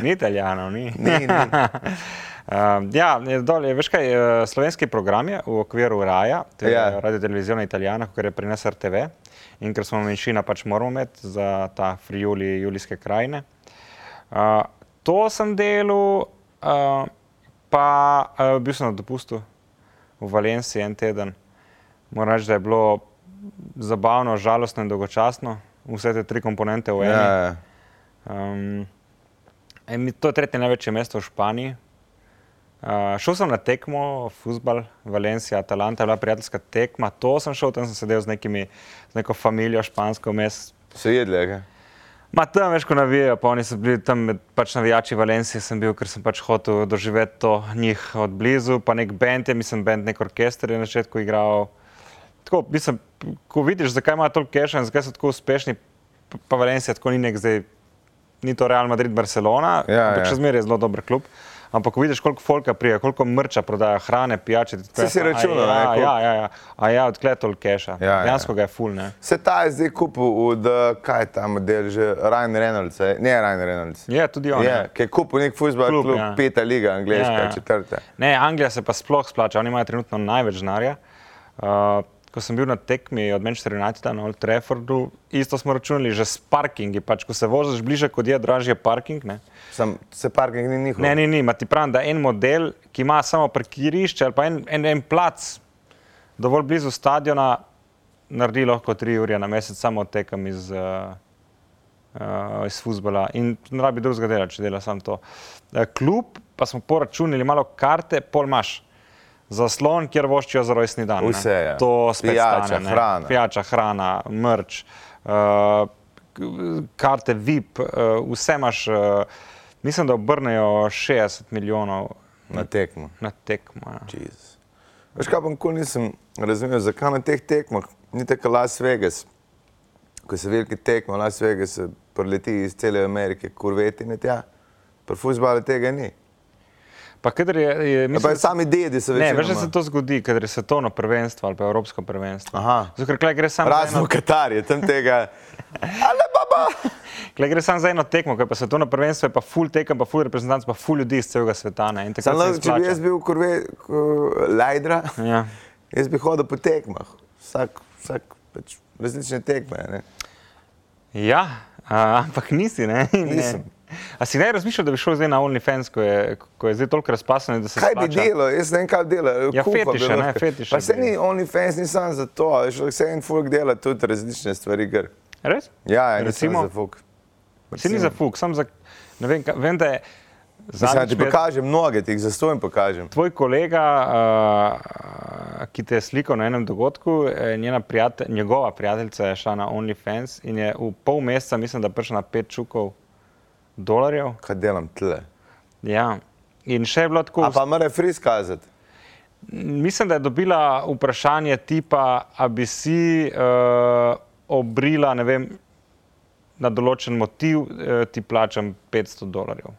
Speaker 2: ni italijanov, ni.
Speaker 1: Ni, ni.
Speaker 2: *laughs* Um, ja, ne, dol, je, veš kaj, eh, slovenski program je v okviru RAJA, to je
Speaker 1: Ja.
Speaker 2: ja. Radio Televizija Italijana, ker je pri nas RTV in ker smo manjšina, pač moramo imeti za ta frijuli Julijske krajine. Uh, to sem delal, uh, pa uh, bil sem na dopustu v Valenciji en teden. Moram reči, da je bilo zabavno, žalostno in dolgočasno, vse te tri komponente v eni.
Speaker 1: Ja.
Speaker 2: Um, ej, mi- to je tretje največje mesto v Španiji. Uh, šel sem na tekmo, futbol, Valencija, Atalanta, je bila prijateljska tekma. To sem šel, tam sem sedel z, nekimi, z neko familijo špansko mest.
Speaker 1: So jedli, kaj?
Speaker 2: Ma tam veš, ko navijajo, pa oni so bili tam med pač navijači Valencije, sem bil, ker sem pač hotel doživeti to njih od blizu, pa nek bend je, mislim, bend, nek orkester je na začetku igral. Tako, mislim, ko vidiš, zakaj imajo toliko keša in zakaj so tako uspešni, pa- pa Valencija tako ni nek zdaj, ni to Real Madrid, Barcelona,
Speaker 1: Ja,
Speaker 2: ampak
Speaker 1: ja.
Speaker 2: še zmeraj je zelo dober klub. Ampak ko vidiš, koliko folka prija, koliko mrča prodaja, hrane, pijače, ti tako
Speaker 1: Saj si
Speaker 2: jasno, "A
Speaker 1: računal, ne,
Speaker 2: ja,
Speaker 1: koliko-
Speaker 2: ja, ja, ja, a ja, odkle je toliko keša.
Speaker 1: Ja, ja.
Speaker 2: Dejansko ga je full, ne.
Speaker 1: Se ta je zdaj kupil od, eh, kaj je tam del že, Ryan Reynolds, eh? ne Ryan Reynolds.
Speaker 2: Je tudi on. ne.
Speaker 1: Ja, ki je kupil nek futbol klub,
Speaker 2: Klub,
Speaker 1: klub ja.
Speaker 2: ja.
Speaker 1: peta liga, angliška,
Speaker 2: Ja,
Speaker 1: ja,
Speaker 2: ja.
Speaker 1: ja. četrta.
Speaker 2: Ne, Anglija se pa sploh splača, oni imajo trenutno največ denarja. Uh, ko sem bil na tekmi od Manchester Uniteda na Old Traffordu, isto smo računali že s parkingi. Pač, ko se voziš bliže, kot je dražje parking. Ne,
Speaker 1: Sam se parking ni njihov.
Speaker 2: ne, ni, ni. ma Ti pravim, da en model, ki ima samo parkirišče ali pa en, en, en plac, dovolj blizu stadiona, naredi lahko tri ure na mesec, samo tekem iz. Uh, uh, iz fusbola in ne rabi drugega dela, če dela samo to. Eh, Kljub pa smo poračunali malo karte, pol imaš. Zaslon, kjer voščijo za rojstni dan. ne.
Speaker 1: Vse je.
Speaker 2: To spet
Speaker 1: ja. Pijača,
Speaker 2: stane, ne.
Speaker 1: hrana.
Speaker 2: Pijača, hrana, mrč, uh, k- karte VIP, uh, vse imaš. Uh, mislim, da obrnejo 60 milijonov
Speaker 1: Na tekmo.
Speaker 2: na tekmo. ja.
Speaker 1: Jezus. Veš kaj, pa nikoli nisem razumel, zakaj na teh tekmah ni tako Las Vegas. Ko se velike tekme v Las Vegas preleti iz cele Amerike, kurvetine tja, pri futbalu tega ni.
Speaker 2: Pa kadar je, je
Speaker 1: Ja, Pa
Speaker 2: mislim,
Speaker 1: sami dedi se
Speaker 2: ne,
Speaker 1: večinoma.
Speaker 2: veš, da se to zgodi, kadar je svetovno prvenstvo ali pa evropsko prvenstvo.
Speaker 1: Aha.
Speaker 2: Zato, ker tule gre samo za
Speaker 1: Razen
Speaker 2: eno
Speaker 1: v Katarju, tam
Speaker 2: *laughs*
Speaker 1: tega. Ale baba!
Speaker 2: Gle, gre samo za eno tekmo, ki pa se to na prvenstvo, je pa full tekem, pa full reprezentanc, pa full ljudi iz celega sveta. Ne? In takrat
Speaker 1: Samo, če
Speaker 2: se
Speaker 1: bi
Speaker 2: izplača.
Speaker 1: jaz bil kurve, ko- lajdra,
Speaker 2: Ja.
Speaker 1: jaz bi hodil po tekmah. Vsak, vsak pač različne tekme. Ne?
Speaker 2: ja, a, ampak nisi, ne? *laughs* In,
Speaker 1: Nisem.
Speaker 2: eh, A si ne razmišljal, da bi šel zdaj na OnlyFans, ko je, ko je zdaj toliko razpasano, da se
Speaker 1: Kaj bi
Speaker 2: splača?
Speaker 1: delal, jaz ne vem, kaj bi delal.
Speaker 2: Ja,
Speaker 1: Kuhal bi
Speaker 2: fetiše, ne,
Speaker 1: lahko.
Speaker 2: fetiše
Speaker 1: Pa se
Speaker 2: bi
Speaker 1: ni OnlyFans, ni samo za to, a veš, lahko se en fulg dela tudi različne stvari. Gr.
Speaker 2: Res?
Speaker 1: Ja, ja,
Speaker 2: Recimo?
Speaker 1: recimo za fuk.
Speaker 2: Si ni za fuk, sam za... Ne vem, ka, vem, da je...
Speaker 1: Mislim, da
Speaker 2: zadnjič
Speaker 1: ti
Speaker 2: me je
Speaker 1: pokažem mnoge, ti jih zastojim pokažem.
Speaker 2: Tvoj kolega, uh, ki te je slikal na enem dogodku, eh, njena prijatelj, njegova prijateljica je šla na OnlyFans in je v pol meseca, mislim, da prišla na pet čukov dolarjev.
Speaker 1: Kaj delam tle?
Speaker 2: Ja. In še je bilo tako,
Speaker 1: A
Speaker 2: pa...
Speaker 1: pa mora fris kazati.
Speaker 2: mislim, da je dobila vprašanje tipa, ali bi si uh, obrila ne vem, na določen motiv, uh, ti plačam 500 dolarjev.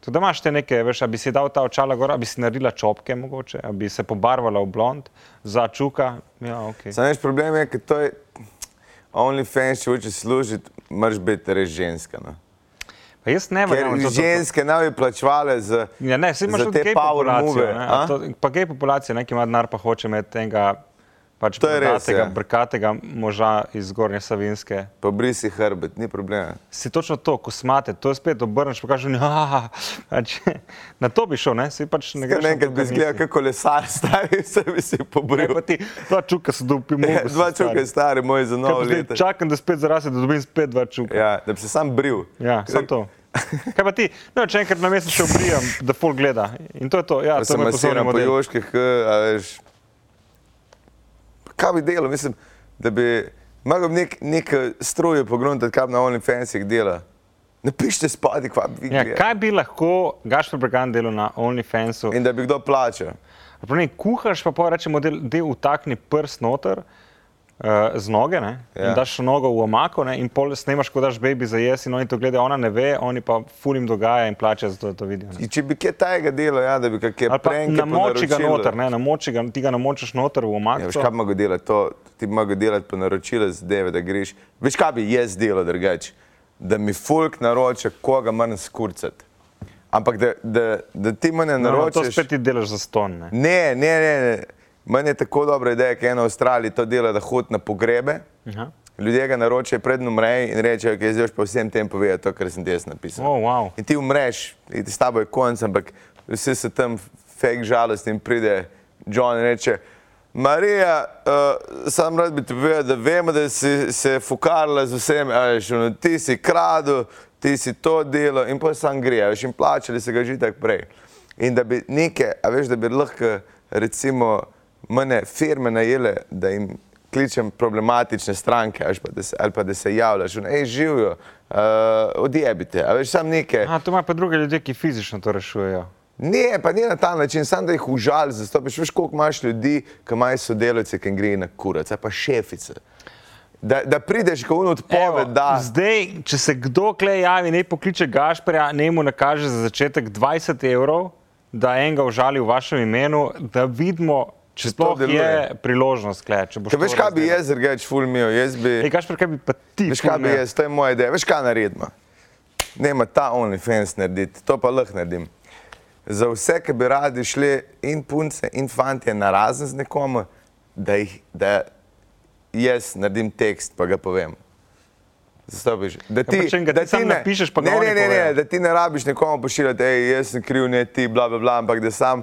Speaker 2: Tudi da imaš te neke, veš, ali bi si dal ta očala gor, ali bi si naredila čopke, mogoče, ali bi se pobarvala v blond, za čuka. Ja, okay.
Speaker 1: Sam veš, problem je, ker to je OnlyFans, če hočeš služiti, moraš biti res ženska. No?
Speaker 2: Pa Jaz Ja, ne
Speaker 1: Ker
Speaker 2: verjamem, da je to.
Speaker 1: ženske naj bi plačevale z,
Speaker 2: Ja, ne, saj imaš
Speaker 1: za
Speaker 2: tudi
Speaker 1: te
Speaker 2: gej
Speaker 1: power
Speaker 2: populacijo.
Speaker 1: move.
Speaker 2: ne,
Speaker 1: a?
Speaker 2: to- Pa gej populacija, neki ima denar, pa hoče imeti enega pač
Speaker 1: To je res,
Speaker 2: brkatega,
Speaker 1: ja.
Speaker 2: brkatega moža iz Gornje Savinske.
Speaker 1: Pa brisi hrbet, ni problema.
Speaker 2: Si točno to, ko smate, to je spet obrneš, pa kažeš, *laughs* da pač, na to bi šel, ne, si pač ne greš.
Speaker 1: Ker
Speaker 2: na to,
Speaker 1: enkrat bi
Speaker 2: kar
Speaker 1: izgledal,
Speaker 2: nisi.
Speaker 1: kako kolesar *laughs* stavi, se bi si
Speaker 2: Ne, pa
Speaker 1: pobril.
Speaker 2: ti, dva čuka so
Speaker 1: *laughs*
Speaker 2: dupi,
Speaker 1: Ja,
Speaker 2: mogoče.
Speaker 1: Dva čuka je stari, moj za novo leto.
Speaker 2: Čakam, da spet zaraste, da dobim spet dva čuka. Ja,
Speaker 1: Ja, da bi se sam bril.
Speaker 2: ja samo to.
Speaker 1: *laughs*
Speaker 2: Kaj pa ti, no, če enkrat na mesec še obrijam, da folk gleda. In to je to, ja,
Speaker 1: Da
Speaker 2: to
Speaker 1: se
Speaker 2: je moj poslovni
Speaker 1: masiram po
Speaker 2: model.
Speaker 1: joških, k, a veš. Pa Kaj bi delal? Mislim, da bi mogel nek, nek eh, stroje pogledati, kaj bi na OnlyFansih dela. Napišite spadi, kva bi vi
Speaker 2: Ja,
Speaker 1: gledali.
Speaker 2: kaj bi lahko Gašpor Bregan delal na OnlyFansu?
Speaker 1: In da bi kdo plačal.
Speaker 2: Problem, kuhaš, pa pa rečemo, da utakni prst noter. Uh, z noge, ne?
Speaker 1: Ja.
Speaker 2: ja. daš nogo v omako ne? in pol snemaš, ko daš baby za jesti no, in oni to gledajo, ona ne ve, oni pa fulim dogaja in plače za to, da to vidijo. ne.
Speaker 1: In Če bi kaj tajega delo, ja, da bi kakšne
Speaker 2: Ali pa
Speaker 1: prenke
Speaker 2: namoči ga
Speaker 1: ponaročilo.
Speaker 2: noter, ne, namoči ga, ti ga namočiš noter v
Speaker 1: Ja, veš,
Speaker 2: omako.
Speaker 1: kaj bi mogel delati, to, ti bi mogel delati po naročilu zadeve, da greš. Veš, kaj bi jaz delal drugače, da mi folk naroča, koga moram skurcati. Ampak da, da, da ti mene
Speaker 2: no, to
Speaker 1: naročiš.
Speaker 2: spet ti delaš za ston. Ne?
Speaker 1: Ne, ne, ne. ne. Meni je tako dobra ideja, ki je ena v Avstraliji to dela, da hod na pogrebe.
Speaker 2: Aha.
Speaker 1: Ljudje ga naročijo pred umrejo in rečejo, da je zdaj pa vsem tem povedal to, kar sem ti jaz napisal.
Speaker 2: Oh, wow.
Speaker 1: In ti umreš, in s tabo je konc, ampak vsi so tam fake žalost in pride John in reče. Marija, uh, sam rad bi ti povedal, da vemo, da si se fukarila z vsem, ali ti si kradu, ti si to delo in pa sam gre, a veš, in plačali se ga že tako prej. In da bi neke, a veš, da bi lahko recimo mene firme najele, da jim kličem problematične stranke, a veš, pa, da se, ali pa da se javljaš, in, ej, živijo, uh, odjebite, a veš, sam neke.
Speaker 2: A, to imajo pa druge ljudje, ki fizično to rešujejo.
Speaker 1: Ne, pa ne na ta način, samo da jih užal, zastopiš. Veš, koliko imaš ljudi, ki imajo sodelavce, ki jim gre na kurac, ali pa šefice. Da, da prideš, ko on
Speaker 2: Evo,
Speaker 1: odpoved, da.
Speaker 2: Zdaj, če se kdo kle javi, ne pokliče Gašperja, ne mu nakaže za začetek 20 evrov, da enega užali v vašem imenu, da vidimo, če
Speaker 1: to
Speaker 2: sploh je
Speaker 1: deluje.
Speaker 2: priložnost. Kle, če boš
Speaker 1: Ka,
Speaker 2: to
Speaker 1: veš, kaj bi
Speaker 2: razdelal.
Speaker 1: jaz drugače fulmil, jaz
Speaker 2: Ej,
Speaker 1: bi.
Speaker 2: Gašper, kaj bi pa ti?
Speaker 1: Veš, kaj bi
Speaker 2: ful imel?
Speaker 1: jaz, to je moja ideja. Veš, kaj naredimo? Nema ta OnlyFans narediti, to pa lahko naredim. Za vse, ki bi radi šli in punce in fantje na razen z nekom, da, jih- da jaz naredim tekst, pa ga povem. Zastopiš. Da
Speaker 2: Ja, pa če ga ti sam napišeš, pa ga
Speaker 1: ne,
Speaker 2: oni
Speaker 1: ne, ne, ne,
Speaker 2: povejo.
Speaker 1: da ti ne rabiš nekomu pošiljati, hej, jaz sem kriv, ne ti, bla, bla, bla, ampak da sam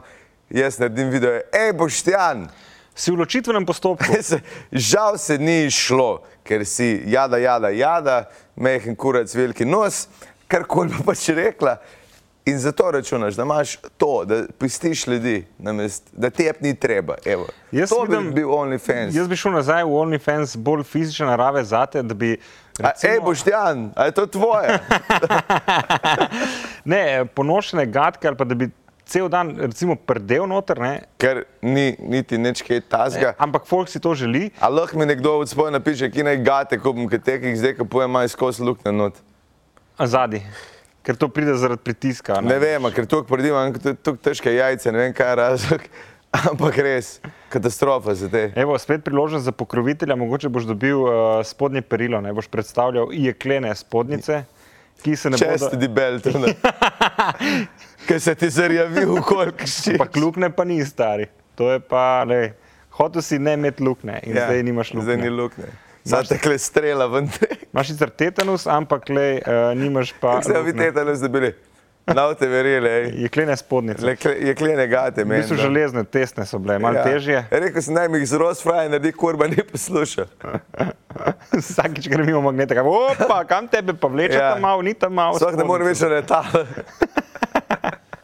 Speaker 1: jaz naredim video, hej, boštjan.
Speaker 2: Si v ločitvenem
Speaker 1: *laughs*
Speaker 2: postopku.
Speaker 1: Se- Žal se ni šlo, ker si jada, jada, jada, mehen kurac, veliki nos, karkoli bo pač rekla. In zato računaš, da imaš to, da pustiš ljudi, namest, da tep ni treba. Evo.
Speaker 2: Jaz
Speaker 1: to
Speaker 2: vidim-
Speaker 1: bi bil OnlyFans.
Speaker 2: Jaz bi šel nazaj v OnlyFans bolj fizične narave zate, da bi.
Speaker 1: A, Ej,
Speaker 2: recimo-
Speaker 1: boštjan, a je to
Speaker 2: *laughs*
Speaker 1: tvoje?
Speaker 2: Ne, ponošene gadke ali pa da bi cel dan, recimo, prdel noter, ne?
Speaker 1: Ker ni niti nič kaj tasga.
Speaker 2: ampak folk si to želi.
Speaker 1: A lahko mi nekdo od spoja napiše, ki naj gate kupim, ker te, ki jih zdaj kupujem, imajo skozi luknje not.
Speaker 2: Zadnji, ker to pride zaradi pritiska.
Speaker 1: Ne vem, a ker tu predimam, tu težke jajce, ne vem kaj je razlog, *laughs* ampak res, katastrofa za te.
Speaker 2: Evo, spet priložnost za pokrovitelja, mogoče boš dobil uh, spodnje perilo, ne boš predstavljal jeklene spodnjice, ki se ne
Speaker 1: Čest
Speaker 2: bodo.
Speaker 1: ti beltone.
Speaker 2: *laughs*
Speaker 1: Ker se ti zarjavi v kolik ščit.
Speaker 2: Pa klukne pa ni stari. To je pa, ne, hotel si ne imeti lukne in ja, zdaj nimaš lukne.
Speaker 1: Zdaj ni luknje. Zdaj te kle strela ven.
Speaker 2: Imaš sicer tetanus, ampak le, uh, nimaš pa.
Speaker 1: Zdaj vi
Speaker 2: luknje.
Speaker 1: teta ne zdobili. Nav te verjeli, ej.
Speaker 2: Jeklene spodnjice.
Speaker 1: Lekle- Jeklene gate,
Speaker 2: V
Speaker 1: meni.
Speaker 2: bistvu
Speaker 1: da.
Speaker 2: železne, tesne so bile, malo ja. težje. *laughs*
Speaker 1: Rekel sem, naj mi jih z rozfrajem naredi, kurba ne posluša.
Speaker 2: Vsakič gremo mimo magneta, kaj, opa, kam tebe pa vleče,
Speaker 1: Ja.
Speaker 2: ja. tam malo, ni tam malo.
Speaker 1: Sploh ne morem več na letalo.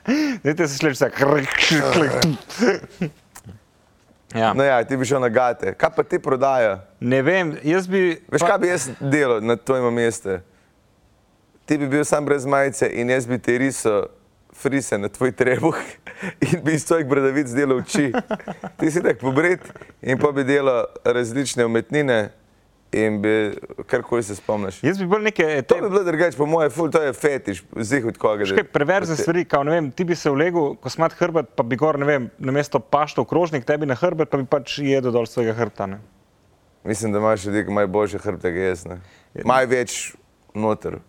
Speaker 1: *laughs*
Speaker 2: Zdaj te se sliši, krk, krk. Ja.
Speaker 1: No ja, ti bi šel na gate. Kaj pa ti prodaja?
Speaker 2: Ne vem, jaz bi.
Speaker 1: Veš,
Speaker 2: pa-
Speaker 1: kaj bi jaz delal na tvojem mestu? Ti bi bil sam brez majice in jaz bi ti risal frise na tvoj trebuh *laughs* in bi iz tvojih bradavic delal oči. Ti si tak pobrit in pa bi delal različne umetnine in bi karkoli se spomniš.
Speaker 2: Jaz bi bolj neke
Speaker 1: To
Speaker 2: Ja, te,
Speaker 1: bi bilo drugače, po mojem, ful, to je fetiš, zih od koga. da-
Speaker 2: še perverzne stvari, kot ne vem, ti bi se vlegel, ko smat hrbet, pa bi gor, ne vem, na mesto pašto krožnik tebi na hrbet, pa bi pač jedel dol svojega hrbta. Ne?
Speaker 1: Mislim, da imaš ljudi, ki imajo boljše hrbte, kot jaz. ne.
Speaker 2: Ja.
Speaker 1: Imajo več noter,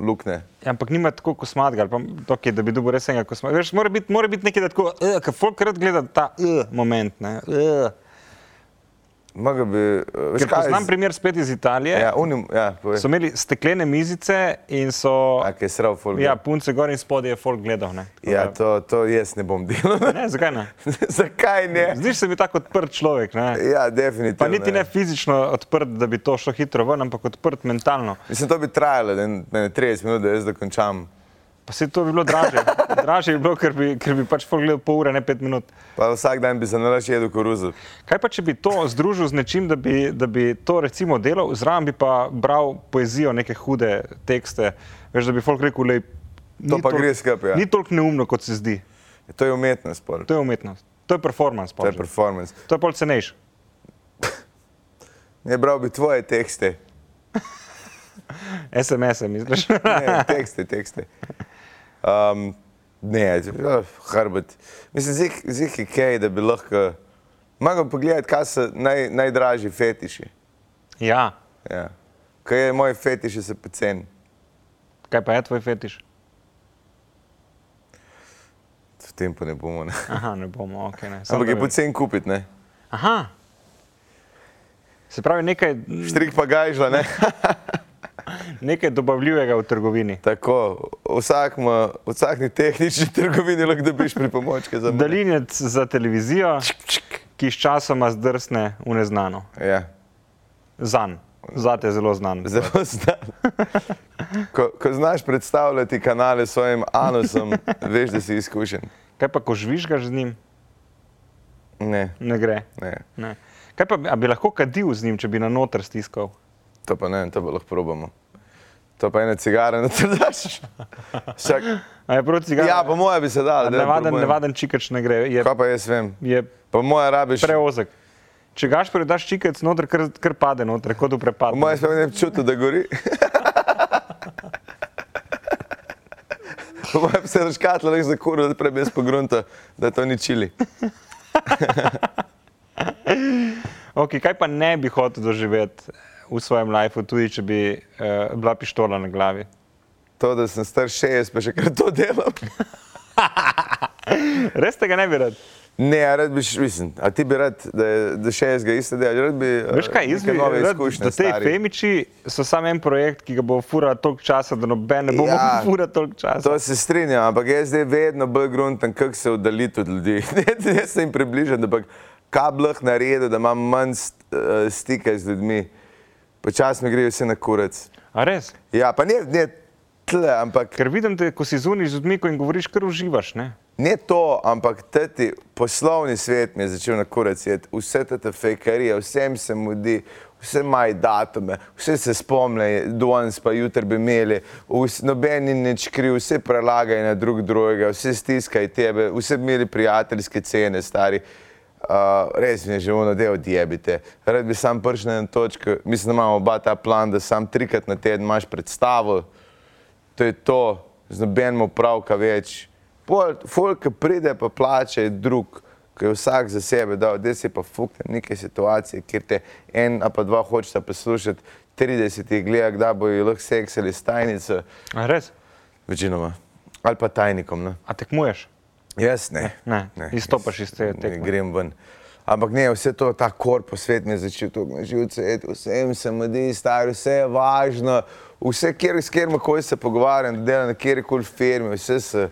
Speaker 1: lukne.
Speaker 2: Ampak nima tako kosmatega, ali pa okay, da bi dobil res enega kosmatega. Veš, mora biti, mora biti nekaj da tako, uh, ker folk rad gleda ta uh, moment. Ne, uh.
Speaker 1: Mogoče bi. eh, Veš,
Speaker 2: Ker
Speaker 1: kaj je
Speaker 2: poznam
Speaker 1: z-
Speaker 2: primer spet iz Italije.
Speaker 1: Ja, unim, ja, povej.
Speaker 2: So imeli steklene mizice in so.
Speaker 1: A, kaj je srav, ful.
Speaker 2: Ja, punce gor in spodaj je folk gledal. Ne? Tako
Speaker 1: Ja,
Speaker 2: da-
Speaker 1: to, to jaz ne bom delal. *laughs*
Speaker 2: ne, zakaj ne?
Speaker 1: Zakaj ne?
Speaker 2: Zdiš se mi tako odprt človek. Ne?
Speaker 1: Ja,
Speaker 2: Pa
Speaker 1: definitivno.
Speaker 2: niti ne fizično odprt, da bi to šlo hitro ven, ampak odprt mentalno.
Speaker 1: Mislim, to bi trajalo da en- ne, 30 minut, da jaz dokončam.
Speaker 2: Pa se to bi bilo draže. Draže bi bilo, ker bi, ker bi pač folk gledal pol ure, ne pet minut.
Speaker 1: Pa vsak dan bi se nalaš jedel koruzo.
Speaker 2: Kaj pa, če bi to združil z nečim, da bi, da bi to recimo delal, zraven bi pa bral poezijo, neke hude tekste, veš, da bi folk rekel, lej,
Speaker 1: To pa gre skupaj, ja.
Speaker 2: Ni toliko neumno, kot se zdi.
Speaker 1: To je umetnost. Pol.
Speaker 2: To je umetnost. To je performance.
Speaker 1: To je
Speaker 2: performance.
Speaker 1: performance.
Speaker 2: to je pol cenejš.
Speaker 1: Ne bral bi tvoje tekste.
Speaker 2: SMS-e, misliš? *laughs*
Speaker 1: Ne, tekste, tekste. Um, ne, eh, hrbet. Mislim, zih- zih je kaj, da bi lahko. Mogoče pogledati, kaj so naj, najdražji fetiši.
Speaker 2: ja.
Speaker 1: Ja. Kaj je moj fetiš, je se pecen.
Speaker 2: Kaj pa je tvoj fetiš?
Speaker 1: V tem pa ne bomo. Ne.
Speaker 2: Aha, ne bomo, ok. Ne. Samo
Speaker 1: Ampak je
Speaker 2: da bi-
Speaker 1: pocen kupiti, ne.
Speaker 2: Aha. Se pravi, nekaj,
Speaker 1: Štrik pa gajžla, ne.
Speaker 2: nekaj dobavljivega v trgovini.
Speaker 1: Tako, vsak, ma, vsak ni tehnični *laughs* trgovini, lahko dobiš pripomočke za mene.
Speaker 2: Daljinec za televizijo, ki sčasoma zdrsne v neznano.
Speaker 1: Ja,
Speaker 2: Zan, zate zelo znan.
Speaker 1: zelo znam. Ko, ko znaš predstavljati kanale s svojim anusom, veš, da si izkušen.
Speaker 2: Kaj pa, ko žvižgaš z njim,
Speaker 1: Ne,
Speaker 2: ne gre.
Speaker 1: ne,
Speaker 2: Ne. Kaj pa, bi- a bi lahko kadil z njim, če bi na noter stiskal?
Speaker 1: to pa ne, vem, to pa lahko probamo. To pa je ena cigara, da ti daš. Čak,
Speaker 2: A je proti ga?
Speaker 1: ja, po moje bi se dal.
Speaker 2: Nevaden, nevaden čikač ne gre, je,
Speaker 1: Kaj pa jaz vem?
Speaker 2: je
Speaker 1: Po moje rabiš.
Speaker 2: preozek. Če gaš predaš čikac noter, kar, kar pade noter, kot v
Speaker 1: Po
Speaker 2: prepadu.
Speaker 1: moje sploh ne bi čutil, da gori. Po moje bi se razkatlo, da je zakuril, da prebez pogrunta, da to ni čili.
Speaker 2: Okay, kaj pa ne bi hotel doživeti v svojem lifeu, tudi če bi uh, bila pištola na glavi?
Speaker 1: To, da sem star 60, pa še kar to delam.
Speaker 2: Res tega ne bi rad.
Speaker 1: Ne, a rad bi, š- mislim, a ti bi rad, da je do 60 isto delal, rad bi. eh,
Speaker 2: Veš kaj, jaz
Speaker 1: neke
Speaker 2: bi
Speaker 1: nove
Speaker 2: rad,
Speaker 1: izkušnje,
Speaker 2: da te
Speaker 1: stari.
Speaker 2: femiči so samo en projekt, ki ga bo fura toliko časa, da noben ne bo ja,
Speaker 1: Ja.
Speaker 2: fura toliko časa.
Speaker 1: To se strinjam, ampak jaz zdaj vedno bolj gruntam, kako se oddaljiti od ljudi. *laughs* Ne, ne se jim približam, ampak kaj bi lahko naredil, da imam manj st, eh, stika z ljudmi. Počasi mi grejo vse na kurac.
Speaker 2: A res?
Speaker 1: Ja, pa ne, ne tle, ampak
Speaker 2: Ker vidim te, ko si zunaj z ljudmi, ko jim govoriš, kar uživaš. Ne?
Speaker 1: ne to, ampak teti poslovni svet mi je začel na kurac jeti. Vse te fejkarije, vsem se mudi, vse maj datume, vse se spomne, danes pa jutri bi imeli, vs, noben ni nič kriv, vse prelagaj na drug drugega, vse stiskaj tebe, vse bi imeli prijateljske cene, stari. Uh, res mi je že ono, da odjebite. Rad bi sam prišel na eno točko, mislim, da imamo oba ta plan, da sam trikrat na teden imaš predstavo, to je to, z nobenim upravka več. Pol, ful, ki pride, pa plače, je drug, ki je vsak za sebe, da da se pa fukne neke situacije, kjer te en ali pa dva hočeta poslušati, 30 jih gleda, kdaj bojo lahko seks ali s tajnico,
Speaker 2: A res?
Speaker 1: večinoma, ali pa tajnikom. Ne?
Speaker 2: A tekmuješ?
Speaker 1: Jaz ne.
Speaker 2: Ne, izstopaš iz te
Speaker 1: ne
Speaker 2: tekme.
Speaker 1: Grem ven. Ampak ne, vse to, ta korpus svet mi je začel tako na živce, eti, vsem se mudi, stari, vse je važno, vse, kjer, s kjer koli se pogovarjam, da delam na kjer koli firmi, vse se,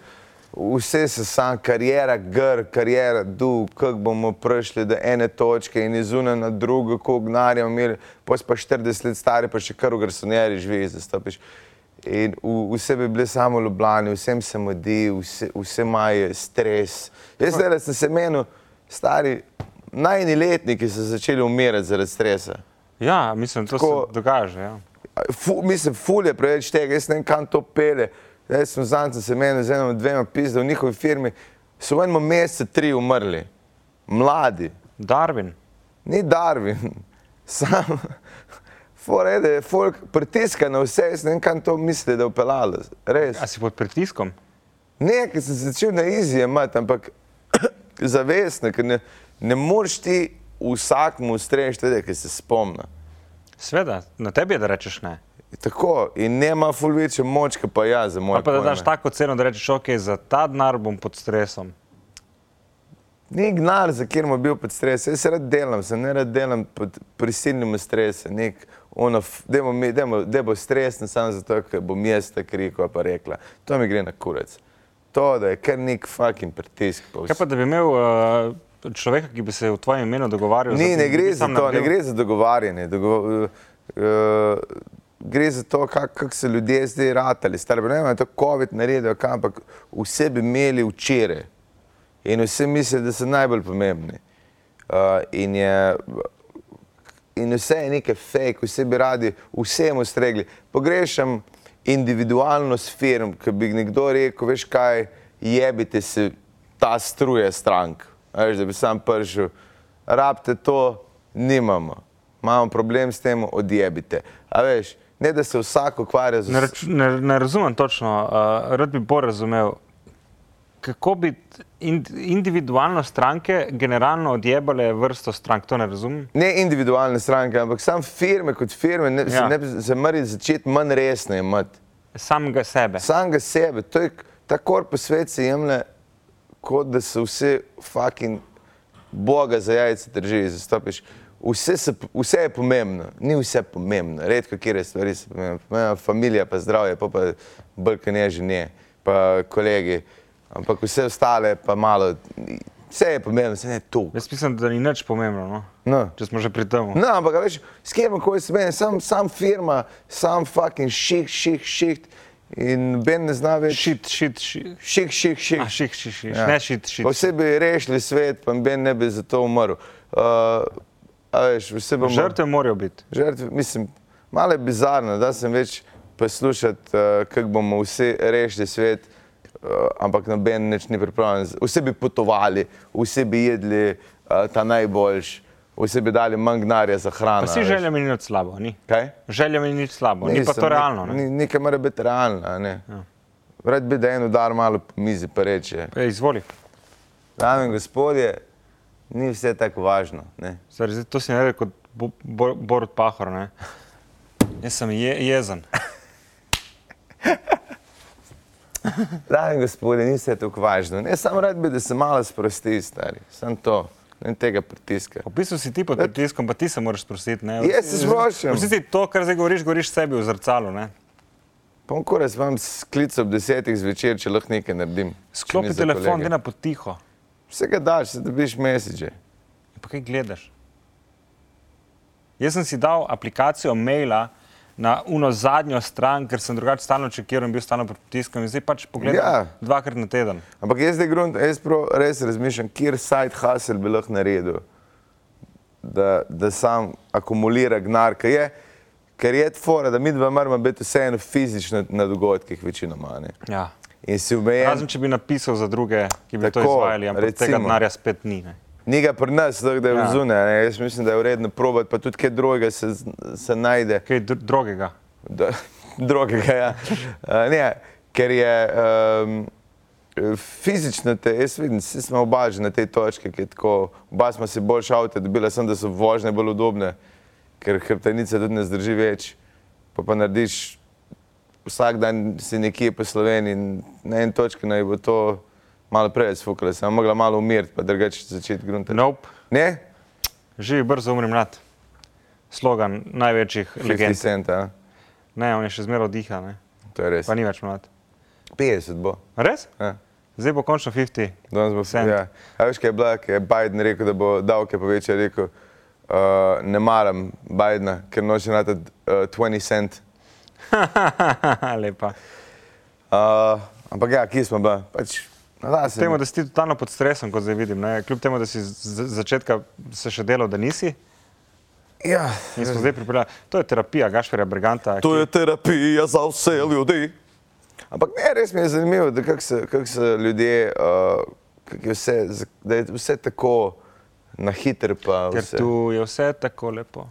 Speaker 1: vse se sam, karijera gr, karijera du, kako bomo prišli do ene točke in izune na drugo, koliko gnarja imeli, pa si pa 40 let stari, pa še kar v garsonjeri živiš, zastopiš. In v, vse bi bile samo ljubljene, vsem se mudi, vse, vse imajo stres. Jaz zdaj sem se menil, stari, najni letniki so začeli umirati zaradi stresa.
Speaker 2: Ja, mislim, to Tako...
Speaker 1: Tako-
Speaker 2: se dogaja. že, Ja.
Speaker 1: Fu, mislim, fulje preveč tega, jaz ne vem, kam to pele. Jaz sem znanci se menil z eno, dvema pizda v njihovi firmi, so v enem mesecu tri umrli, mladi.
Speaker 2: Darwin.
Speaker 1: ni Darwin, *laughs* sam forede, folk pritiska na vse, jaz ne vem, kam to misli, da upeljalo, res.
Speaker 2: A si pod pritiskom?
Speaker 1: Ne, ker sem se začel na izi imati, ampak *clears throat* zavestno, ker ne, ne moreš ti vsakmu ustreči tega, ki se spomni.
Speaker 2: Sveda, na tebi je, da rečeš ne.
Speaker 1: Tako in nema fulviče moč, ki pa jaz za moj.
Speaker 2: Ali pa da daš
Speaker 1: pojme.
Speaker 2: tako ceno, da rečeš, ok, za ta denar bom pod stresom.
Speaker 1: Ni gnar, za kjer mu bil pod stresom. Jaz se rad delam, se ne rad delam pod prisilnim stresom. Nek, ono, f- dajmo mi- dajmo- daj bo stresen samo zato, ker bom jaz tako rekel ali pa rekla. To mi gre na kurac. To, da je kar nek fucking pritisk. pa
Speaker 2: Kaj pa, da bi imel uh, človeka, ki bi se v tvojem imenu dogovarjal?
Speaker 1: Ni,
Speaker 2: to,
Speaker 1: ne
Speaker 2: da bi
Speaker 1: gre
Speaker 2: ti
Speaker 1: za
Speaker 2: sam
Speaker 1: to,
Speaker 2: naredil?
Speaker 1: ne gre za dogovarjanje. Dogo, uh, uh, gre za to, kako kak so ljudje zdaj ratali. Stari, ne vem, a je to COVID naredil, kaj, ampak vse bi imeli včeraj in vsi mislijo, da so najbolj pomembni. Uh, in je in vse je nekaj fake, vse bi radi, vsemu stregli. Pogrešam individualnost firm, ki bi nekdo rekel, veš kaj, jebite se ta struja strank. a veš, da bi sam pršil. Rabite to, nimamo. Imamo problem s tem, odjebite. A veš, ne da se vsak ukvarja z
Speaker 2: Ne, rač, ne, ne razumem točno, uh, rad bi bolj razumel, kako bi in, individualno stranke generalno odjebale vrsto strank. To ne razumem.
Speaker 1: Ne individualne stranke, ampak sam firme kot firme, ne, ja. se,
Speaker 2: Ja.
Speaker 1: ne, bi- se mora začeti manj resno imeti.
Speaker 2: Samega sebe.
Speaker 1: Samega sebe, to je k- ta korpus svet se jemlje, kot da se vse fucking boga za jajce drži, zastopiš. Vse, se, p- vse je pomembno, ni vse pomembno, redko kje je stvari so pomembne. Pomembna familija, pa zdravje, pa, pa brkanje ženje, pa kolegi, ampak vse ostale pa malo, vse je pomembno, vse je to.
Speaker 2: Jaz mislim, da ni nič pomembno, no?
Speaker 1: No.
Speaker 2: če smo že pri tem.
Speaker 1: No, ampak a veš, s kjem kako je smenjen, sam, sam firma, sam fucking ših, ših, ših in Ben ne zna več.
Speaker 2: Šit, šit, šit.
Speaker 1: Ših, ših, ših.
Speaker 2: A, šit, šit, šit. Ja. Ne šit, šit.
Speaker 1: Pa Vse bi rešili svet, pa Ben ne bi za to umrl. Uh, a veš, vse bomo.
Speaker 2: Žrtve morajo biti.
Speaker 1: Žrtve, mislim, malo je bizarno, da sem več poslušati, uh, kako bomo vsi rešili svet, uh, ampak noben nič ni pripravljen. Z- Vsi bi potovali, vsi bi jedli uh, ta najboljši, vsi bi dali manj denarja za hrano.
Speaker 2: Pa
Speaker 1: a
Speaker 2: si
Speaker 1: veš.
Speaker 2: želja mi ni nič slabo, ni.
Speaker 1: Kaj?
Speaker 2: Želja mi ni nič slabo, ni pa
Speaker 1: Nisem,
Speaker 2: to realno.
Speaker 1: Ni,
Speaker 2: Ne?
Speaker 1: nekaj mora biti realno. a Ne? Ja. Rad bi, da en udar malo po mizi pa reče.
Speaker 2: E, izvoli.
Speaker 1: Dame in gospodje, ni vse tako važno. Ne?
Speaker 2: Zdaj, zdaj, to si ne rekel kot Bo- Bo- Borut Pahor. Ne? Jaz sem je, jezen.
Speaker 1: Dame in gospodje, ni vse tako važno. Ne? Sam rad bi, da se malo sprosti, stari. Sam to, ne tega pritiska.
Speaker 2: V bistvu si ti pod pritiskom, pa ti se moraš sprostiti. ne.
Speaker 1: Jaz se sproščam.
Speaker 2: Vsi ti to, kar zdaj govoriš, govoriš sebi v zrcalu. Ne?
Speaker 1: Ponkora sem vam sklic ob desetih zvečer, če lahko nekaj naredim. če ni
Speaker 2: Sklopi
Speaker 1: za
Speaker 2: telefon,
Speaker 1: kolege.
Speaker 2: gre na potiho.
Speaker 1: Vsega daš, se dobiš mesiče.
Speaker 2: Pa kaj gledaš? Jaz sem si dal aplikacijo maila na uno zadnjo stran, ker sem drugače stalno čekiral in bil stalno pod pritiskom. In zdaj pač pogledam
Speaker 1: Ja.
Speaker 2: ja. dvakrat na teden.
Speaker 1: Ampak jaz zdaj grunt, jaz prav res razmišljam, kjer sajt Hasel bi lahko naredil, da, da sam akumulira gnar, ker je, ker je tfora, da mi dva moramo biti vseeno fizično na dogodkih večinoma. Ne?
Speaker 2: Ja.
Speaker 1: In si omejen,
Speaker 2: Razen, če bi napisal za druge, ki bi Tako, to
Speaker 1: Tako,
Speaker 2: izvajali, ampak recimo. tega
Speaker 1: recimo.
Speaker 2: denarja spet ni. Ne.
Speaker 1: Ni ga pri nas, tako da je
Speaker 2: Ja.
Speaker 1: ja. zunaj. ne. Jaz mislim, da je vredno probati, pa tudi kaj drugega se, z- se najde.
Speaker 2: Kaj dr drugega.
Speaker 1: Da, drugega,
Speaker 2: *laughs*
Speaker 1: ja. uh, ne, ker je um, fizično, te, jaz vidim, vsi smo oba že na tej točki, ki je tako, oba smo si boljše avto dobila, sem da so vožnje bolj udobne, ker hrbtenica tudi ne zdrži več. Pa pa narediš vsak dan si nekje po Sloveniji in na en točki naj bo to malo preveč fukalo, sem mogla malo umiriti, pa drugače začeti gruntati.
Speaker 2: Nope.
Speaker 1: Ne?
Speaker 2: Živi brzo, umri mlad. Slogan največjih
Speaker 1: 50
Speaker 2: legend.
Speaker 1: cent, a?
Speaker 2: Ne, on je še zmeraj diha, ne?
Speaker 1: to je res.
Speaker 2: pa ni več mlad.
Speaker 1: 50 bo.
Speaker 2: Res?
Speaker 1: Ja.
Speaker 2: Zdaj bo končno 50.
Speaker 1: Danes bo vse.
Speaker 2: Cent.
Speaker 1: Ja. A veš, kaj je bila, kaj je Biden rekel, da bo davke povečal, je rekel, uh, ne maram Bidna, ker noče na ta uh, 20 cent.
Speaker 2: *laughs* Lepa.
Speaker 1: Uh, ampak ja, kje smo bila? Pač, na
Speaker 2: Kljub temu,
Speaker 1: se.
Speaker 2: da si ti totalno pod stresom, kot zdaj vidim, ne? kljub temu, da si z z začetka se še delal, da nisi,
Speaker 1: Ja.
Speaker 2: in smo zdaj pripeljali. To je terapija Gašperja Briganta.
Speaker 1: To je terapija za vse ljudi. Ampak ne, res mi je zanimivo, da kako se, kak se ljudje, uh, kak je vse, z- da je vse tako na hitro. pa
Speaker 2: Ker
Speaker 1: vse-
Speaker 2: tu je vse tako lepo.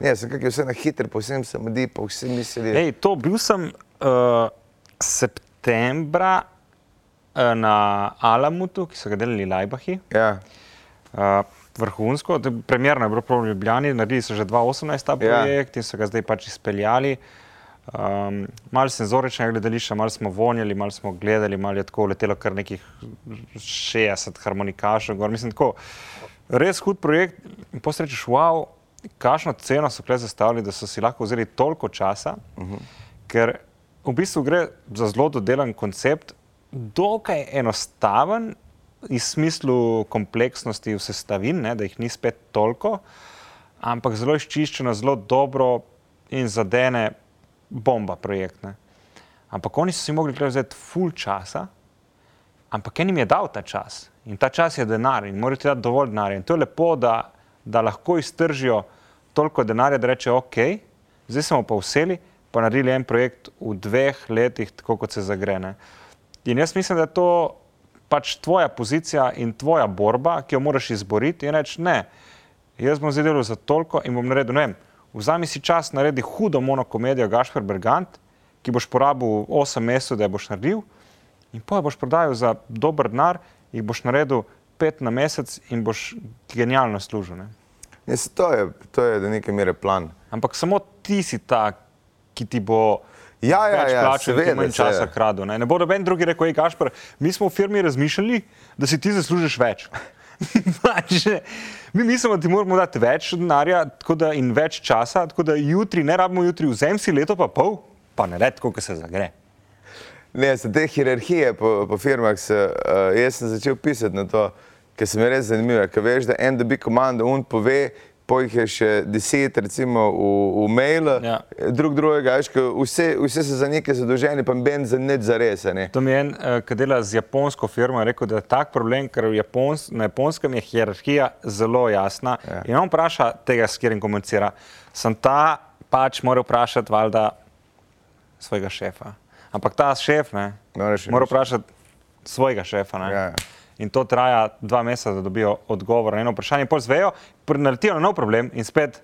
Speaker 1: Ne, sem kak je vse na hitro, pa vsem se mudi, pa vsi mislijo.
Speaker 2: Ej, to bil sem uh, septembra uh, na Alamutu, ki so ga delali Lajbahi.
Speaker 1: Ja.
Speaker 2: Uh, vrhunsko, to je premjerno je bilo prav v Ljubljani, naredili so že 2018 ta
Speaker 1: Ja.
Speaker 2: projekt in so ga zdaj pač izpeljali. Um, malo senzoričnega gledališča, malo smo vonjali, malo smo gledali, malo je tako letelo kar nekih 60 harmonikašov. Gor. Mislim, tako, res hud projekt. In posrečeš, wow, kakšno ceno so kle zastavili, da so si lahko vzeli toliko časa, uh -huh. ker v bistvu gre za zelo dodelan koncept, dokaj enostaven, iz smislu kompleksnosti v sestavin, ne, da jih ni spet toliko, ampak zelo izčiščeno, zelo dobro in zadene bomba projekt. Ne. Ampak oni so si mogli tukaj vzeti full časa, ampak enim je dal ta čas in ta čas je denar in morate dati dovolj denarja. In to je lepo, da, da lahko iztržijo toliko denarja, da rečejo, ok, zdaj smo pa vseli, pa naredili en projekt v dveh letih, tako kot se zagrene. In jaz mislim, da je to pač tvoja pozicija in tvoja borba, ki jo moraš izboriti, in reči ne, jaz bom zdaj delal za toliko in bom naredil, ne vem, vzami si čas, naredi hudo monokomedijo Gašper Bergant, ki boš porabil 8 mesecev, da jo boš naredil, in pa boš prodajal za dober denar, jih boš naredil 5 na mesec in boš genialno služil. Ne?
Speaker 1: Ja, se to, je, to je do neke mere plan.
Speaker 2: Ampak samo ti si ta, ki ti bo.
Speaker 1: Ja, ja,
Speaker 2: več
Speaker 1: ja,
Speaker 2: plačal, ki
Speaker 1: seveda,
Speaker 2: bo manj časa
Speaker 1: seveda.
Speaker 2: kradel. Ne, ne bo noben drugi rekel, hej, Gašpor, mi smo v firmi razmišljali, da si ti zaslužiš več. *laughs* Pač, ne. mi mislimo, da ti moramo dati več denarja tako da, in več časa, tako da jutri, ne rabimo jutri, vzem si leto pa pol, pa ne redko, ko se zagre.
Speaker 1: Ne, se te hierarhije po, po firmah, se, uh, jaz sem začel pisati na to, ker se mi res zanimivo, ker veš, da en dobi komando, un pove, po jih je še deset, recimo v, v mailu,
Speaker 2: Ja.
Speaker 1: drug drugega, veš, ko vse, vse so za nekaj zadolženi, pa ben za nič zares. a Ne?
Speaker 2: To mi je en, eh, ki dela z japonsko firmo, je rekel, da je tak problem, ker v Japons, na japonskem je hierarhija zelo jasna. Ja. In on vpraša tega, s katerim komunicira. Sem ta pač mora vprašati, valjda, svojega šefa. Ampak ta šef ne,
Speaker 1: Moraš reči.
Speaker 2: mora vprašati svojega šefa. Ne.
Speaker 1: Ja, ja.
Speaker 2: In to traja dva meseca, da dobijo odgovor na eno vprašanje, pol zvejo, pr- naletijo na nov problem in spet.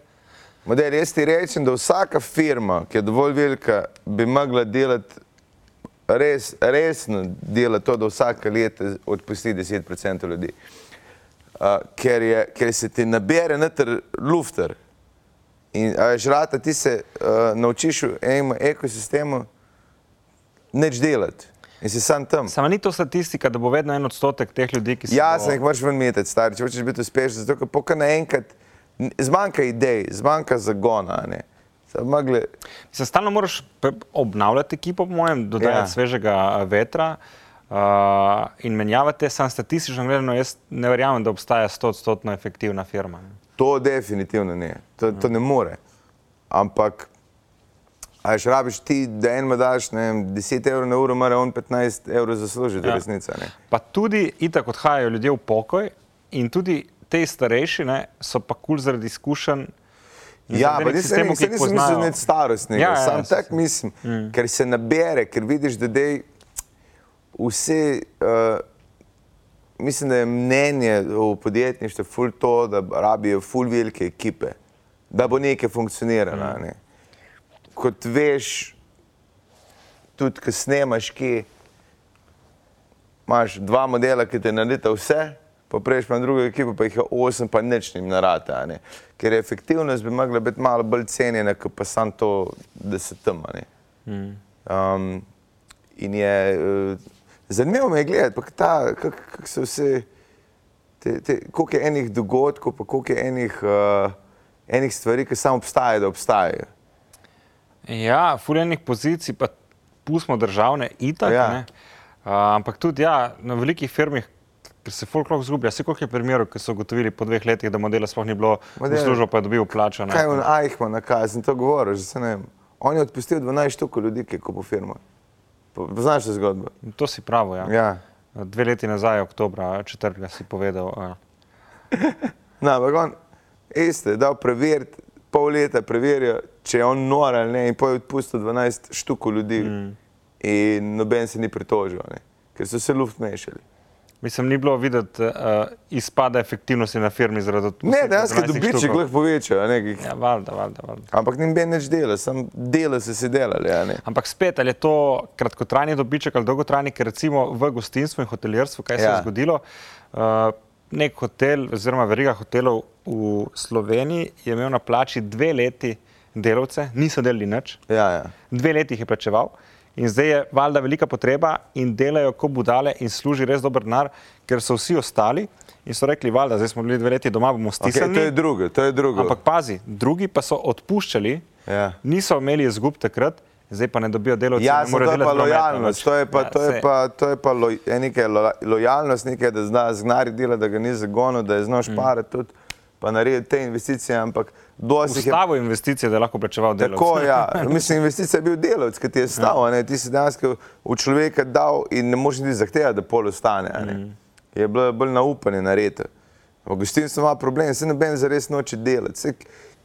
Speaker 1: Model, jaz ti rečem, da vsaka firma, ki je dovolj velika, bi mogla delati res, resno dela to, da vsako leto odpusti 10% ljudi. Uh, ker, je, ker se ti nabere noter lufter. In a veš, rata, ti se uh, naučiš v enem ekosistemu neč delati in si sam tam.
Speaker 2: Sama ni to statistika, da bo vedno en odstotek teh ljudi, ki se
Speaker 1: Ja,
Speaker 2: bo-
Speaker 1: se jih moraš ven metati, stari, če hočeš biti uspešen, zato ker pokaj naenkrat n- zmanjka idej, zmanjka zagona. a ne. Se bi Mogli,
Speaker 2: Se stalno moraš pe- obnavljati ekipo, po mojem, dodajati
Speaker 1: Ja.
Speaker 2: ja. svežega a, vetra uh, in menjavati, sam statistično gledano, jaz ne verjamem, da obstaja 100-odstotno efektivna firma. ne.
Speaker 1: To definitivno ne, to, to ne more. Ampak, a še rabiš ti, da enemu daš ne vem, 10 evrov na uro, mora on 15 evrov zaslužiti, ja.
Speaker 2: Ja.
Speaker 1: resnica. Ne?
Speaker 2: Pa tudi itak odhajajo ljudje v pokoj in tudi te starejši ne, so pa kul cool zaradi izkušenj. in
Speaker 1: Ja,
Speaker 2: zaradi
Speaker 1: pa
Speaker 2: nekih
Speaker 1: nisem,
Speaker 2: sistemov, ki
Speaker 1: nisem,
Speaker 2: jih
Speaker 1: nisem mislil,
Speaker 2: poznajo.
Speaker 1: da je starostnik,
Speaker 2: Ja,
Speaker 1: ja,
Speaker 2: ja,
Speaker 1: sam
Speaker 2: ja,
Speaker 1: ja, tak
Speaker 2: saj-
Speaker 1: mislim, mm. ker se nabere, ker vidiš, da dej vse, uh, mislim, da je mnenje v podjetništvu ful to, da rabijo ful velike ekipe, da bo nekaj funkcioniralo. Mm. Ne. Kot veš, tudi ko snemaš, ki imaš dva modela, ki te naredita vse, pa prejš pa na drugo ekipo, pa jih je osem, pa nič jim narata. a ne. Ker je efektivnost bi mogla biti malo bolj cenjena, kot pa sam to, da se tam. a ne. Um, in je, eh, zanimivo me je gledati, kako kak, kak se vse, te, te, koliko je enih dogodkov, pa koliko je enih, uh, enih stvari, ki samo obstajajo, da obstajajo.
Speaker 2: Ja, fuljenih pozicij, pa pustimo državne itak.
Speaker 1: Ja.
Speaker 2: Ja. Uh, ampak tudi ja, na velikih firmah, ker se folklor zgublja, se Ja, koliko je primerov, ki so ugotovili po dveh letih, da modela sploh ni bilo,
Speaker 1: Modela-
Speaker 2: da službo pa je dobil plačano.
Speaker 1: Kaj je on Eichmann, na kaj sem to govoril, že se ne vem. On je odpustil 12 štuk ljudi, ki je kupil firmo. Po- Poznaš to zgodbo?
Speaker 2: To si pravo, ja. ja.
Speaker 1: Ja.
Speaker 2: Dve leti nazaj, oktober, četrtega si povedal. Uh,
Speaker 1: No, ampak on, iste, je dal preveriti, pol leta preverijo, če je on nor ali ne, in pa je odpustil 12 štuk ljudi. Mm. In noben se ni pritožil, ne? ker so se luft mešali.
Speaker 2: mislim, ni bilo videti uh, izpada efektivnosti na firmi zaradi tega.
Speaker 1: Ne, dejansko je dobiček lahko povečal, a ne, ki-
Speaker 2: Ja, valjda, valjda, valjda.
Speaker 1: ampak ni ben več dela, samo dela so si delali. a ne.
Speaker 2: Ampak spet, ali je to kratkotrajni dobiček ali dolgotrajni, ker recimo v gostinstvu in hotelirstvu, kaj se
Speaker 1: Ja.
Speaker 2: je zgodilo, uh, nek hotel oziroma veriga hotelov v Sloveniji je imel na plači dve leti delavce, niso delali nič,
Speaker 1: Ja, ja.
Speaker 2: dve leti jih je plačeval in zdaj je valjda velika potreba in delajo kot budale in služi res dober denar, ker so vsi ostali in so rekli, valjda, zdaj smo bili dve leti doma, bomo
Speaker 1: Okay,
Speaker 2: stisnili.
Speaker 1: to je drugo, to je drugo.
Speaker 2: Ampak pazi, drugi pa so odpuščali,
Speaker 1: Ja.
Speaker 2: niso imeli izgub takrat, zdaj pa ne dobijo delovcev.
Speaker 1: Ja,
Speaker 2: ne
Speaker 1: samo
Speaker 2: morejo
Speaker 1: to je pa
Speaker 2: delati prometa
Speaker 1: lojalnost,
Speaker 2: več.
Speaker 1: to je pa,
Speaker 2: Ja,
Speaker 1: to je
Speaker 2: saj.
Speaker 1: pa, to je pa loj, je nekaj lo, lojalnost, nekaj, da zna znari dela, da ga ni zagonil, da je znal
Speaker 2: Mm.
Speaker 1: šparati tudi, pa narediti te investicije, ampak dosti jih je
Speaker 2: Ustavil investicije, da je lahko plačeval delavce.
Speaker 1: Tako, ja. Mislim, investicija je bil delavec, ki ti je stal, ja. ti si dejansko v človeka dal in ne moreš niti zahtevati, da pol ostane. a ne. Je bilo bolj naupanje narediti. V gostinstvu ima problem, se noben zares noče delati. Se,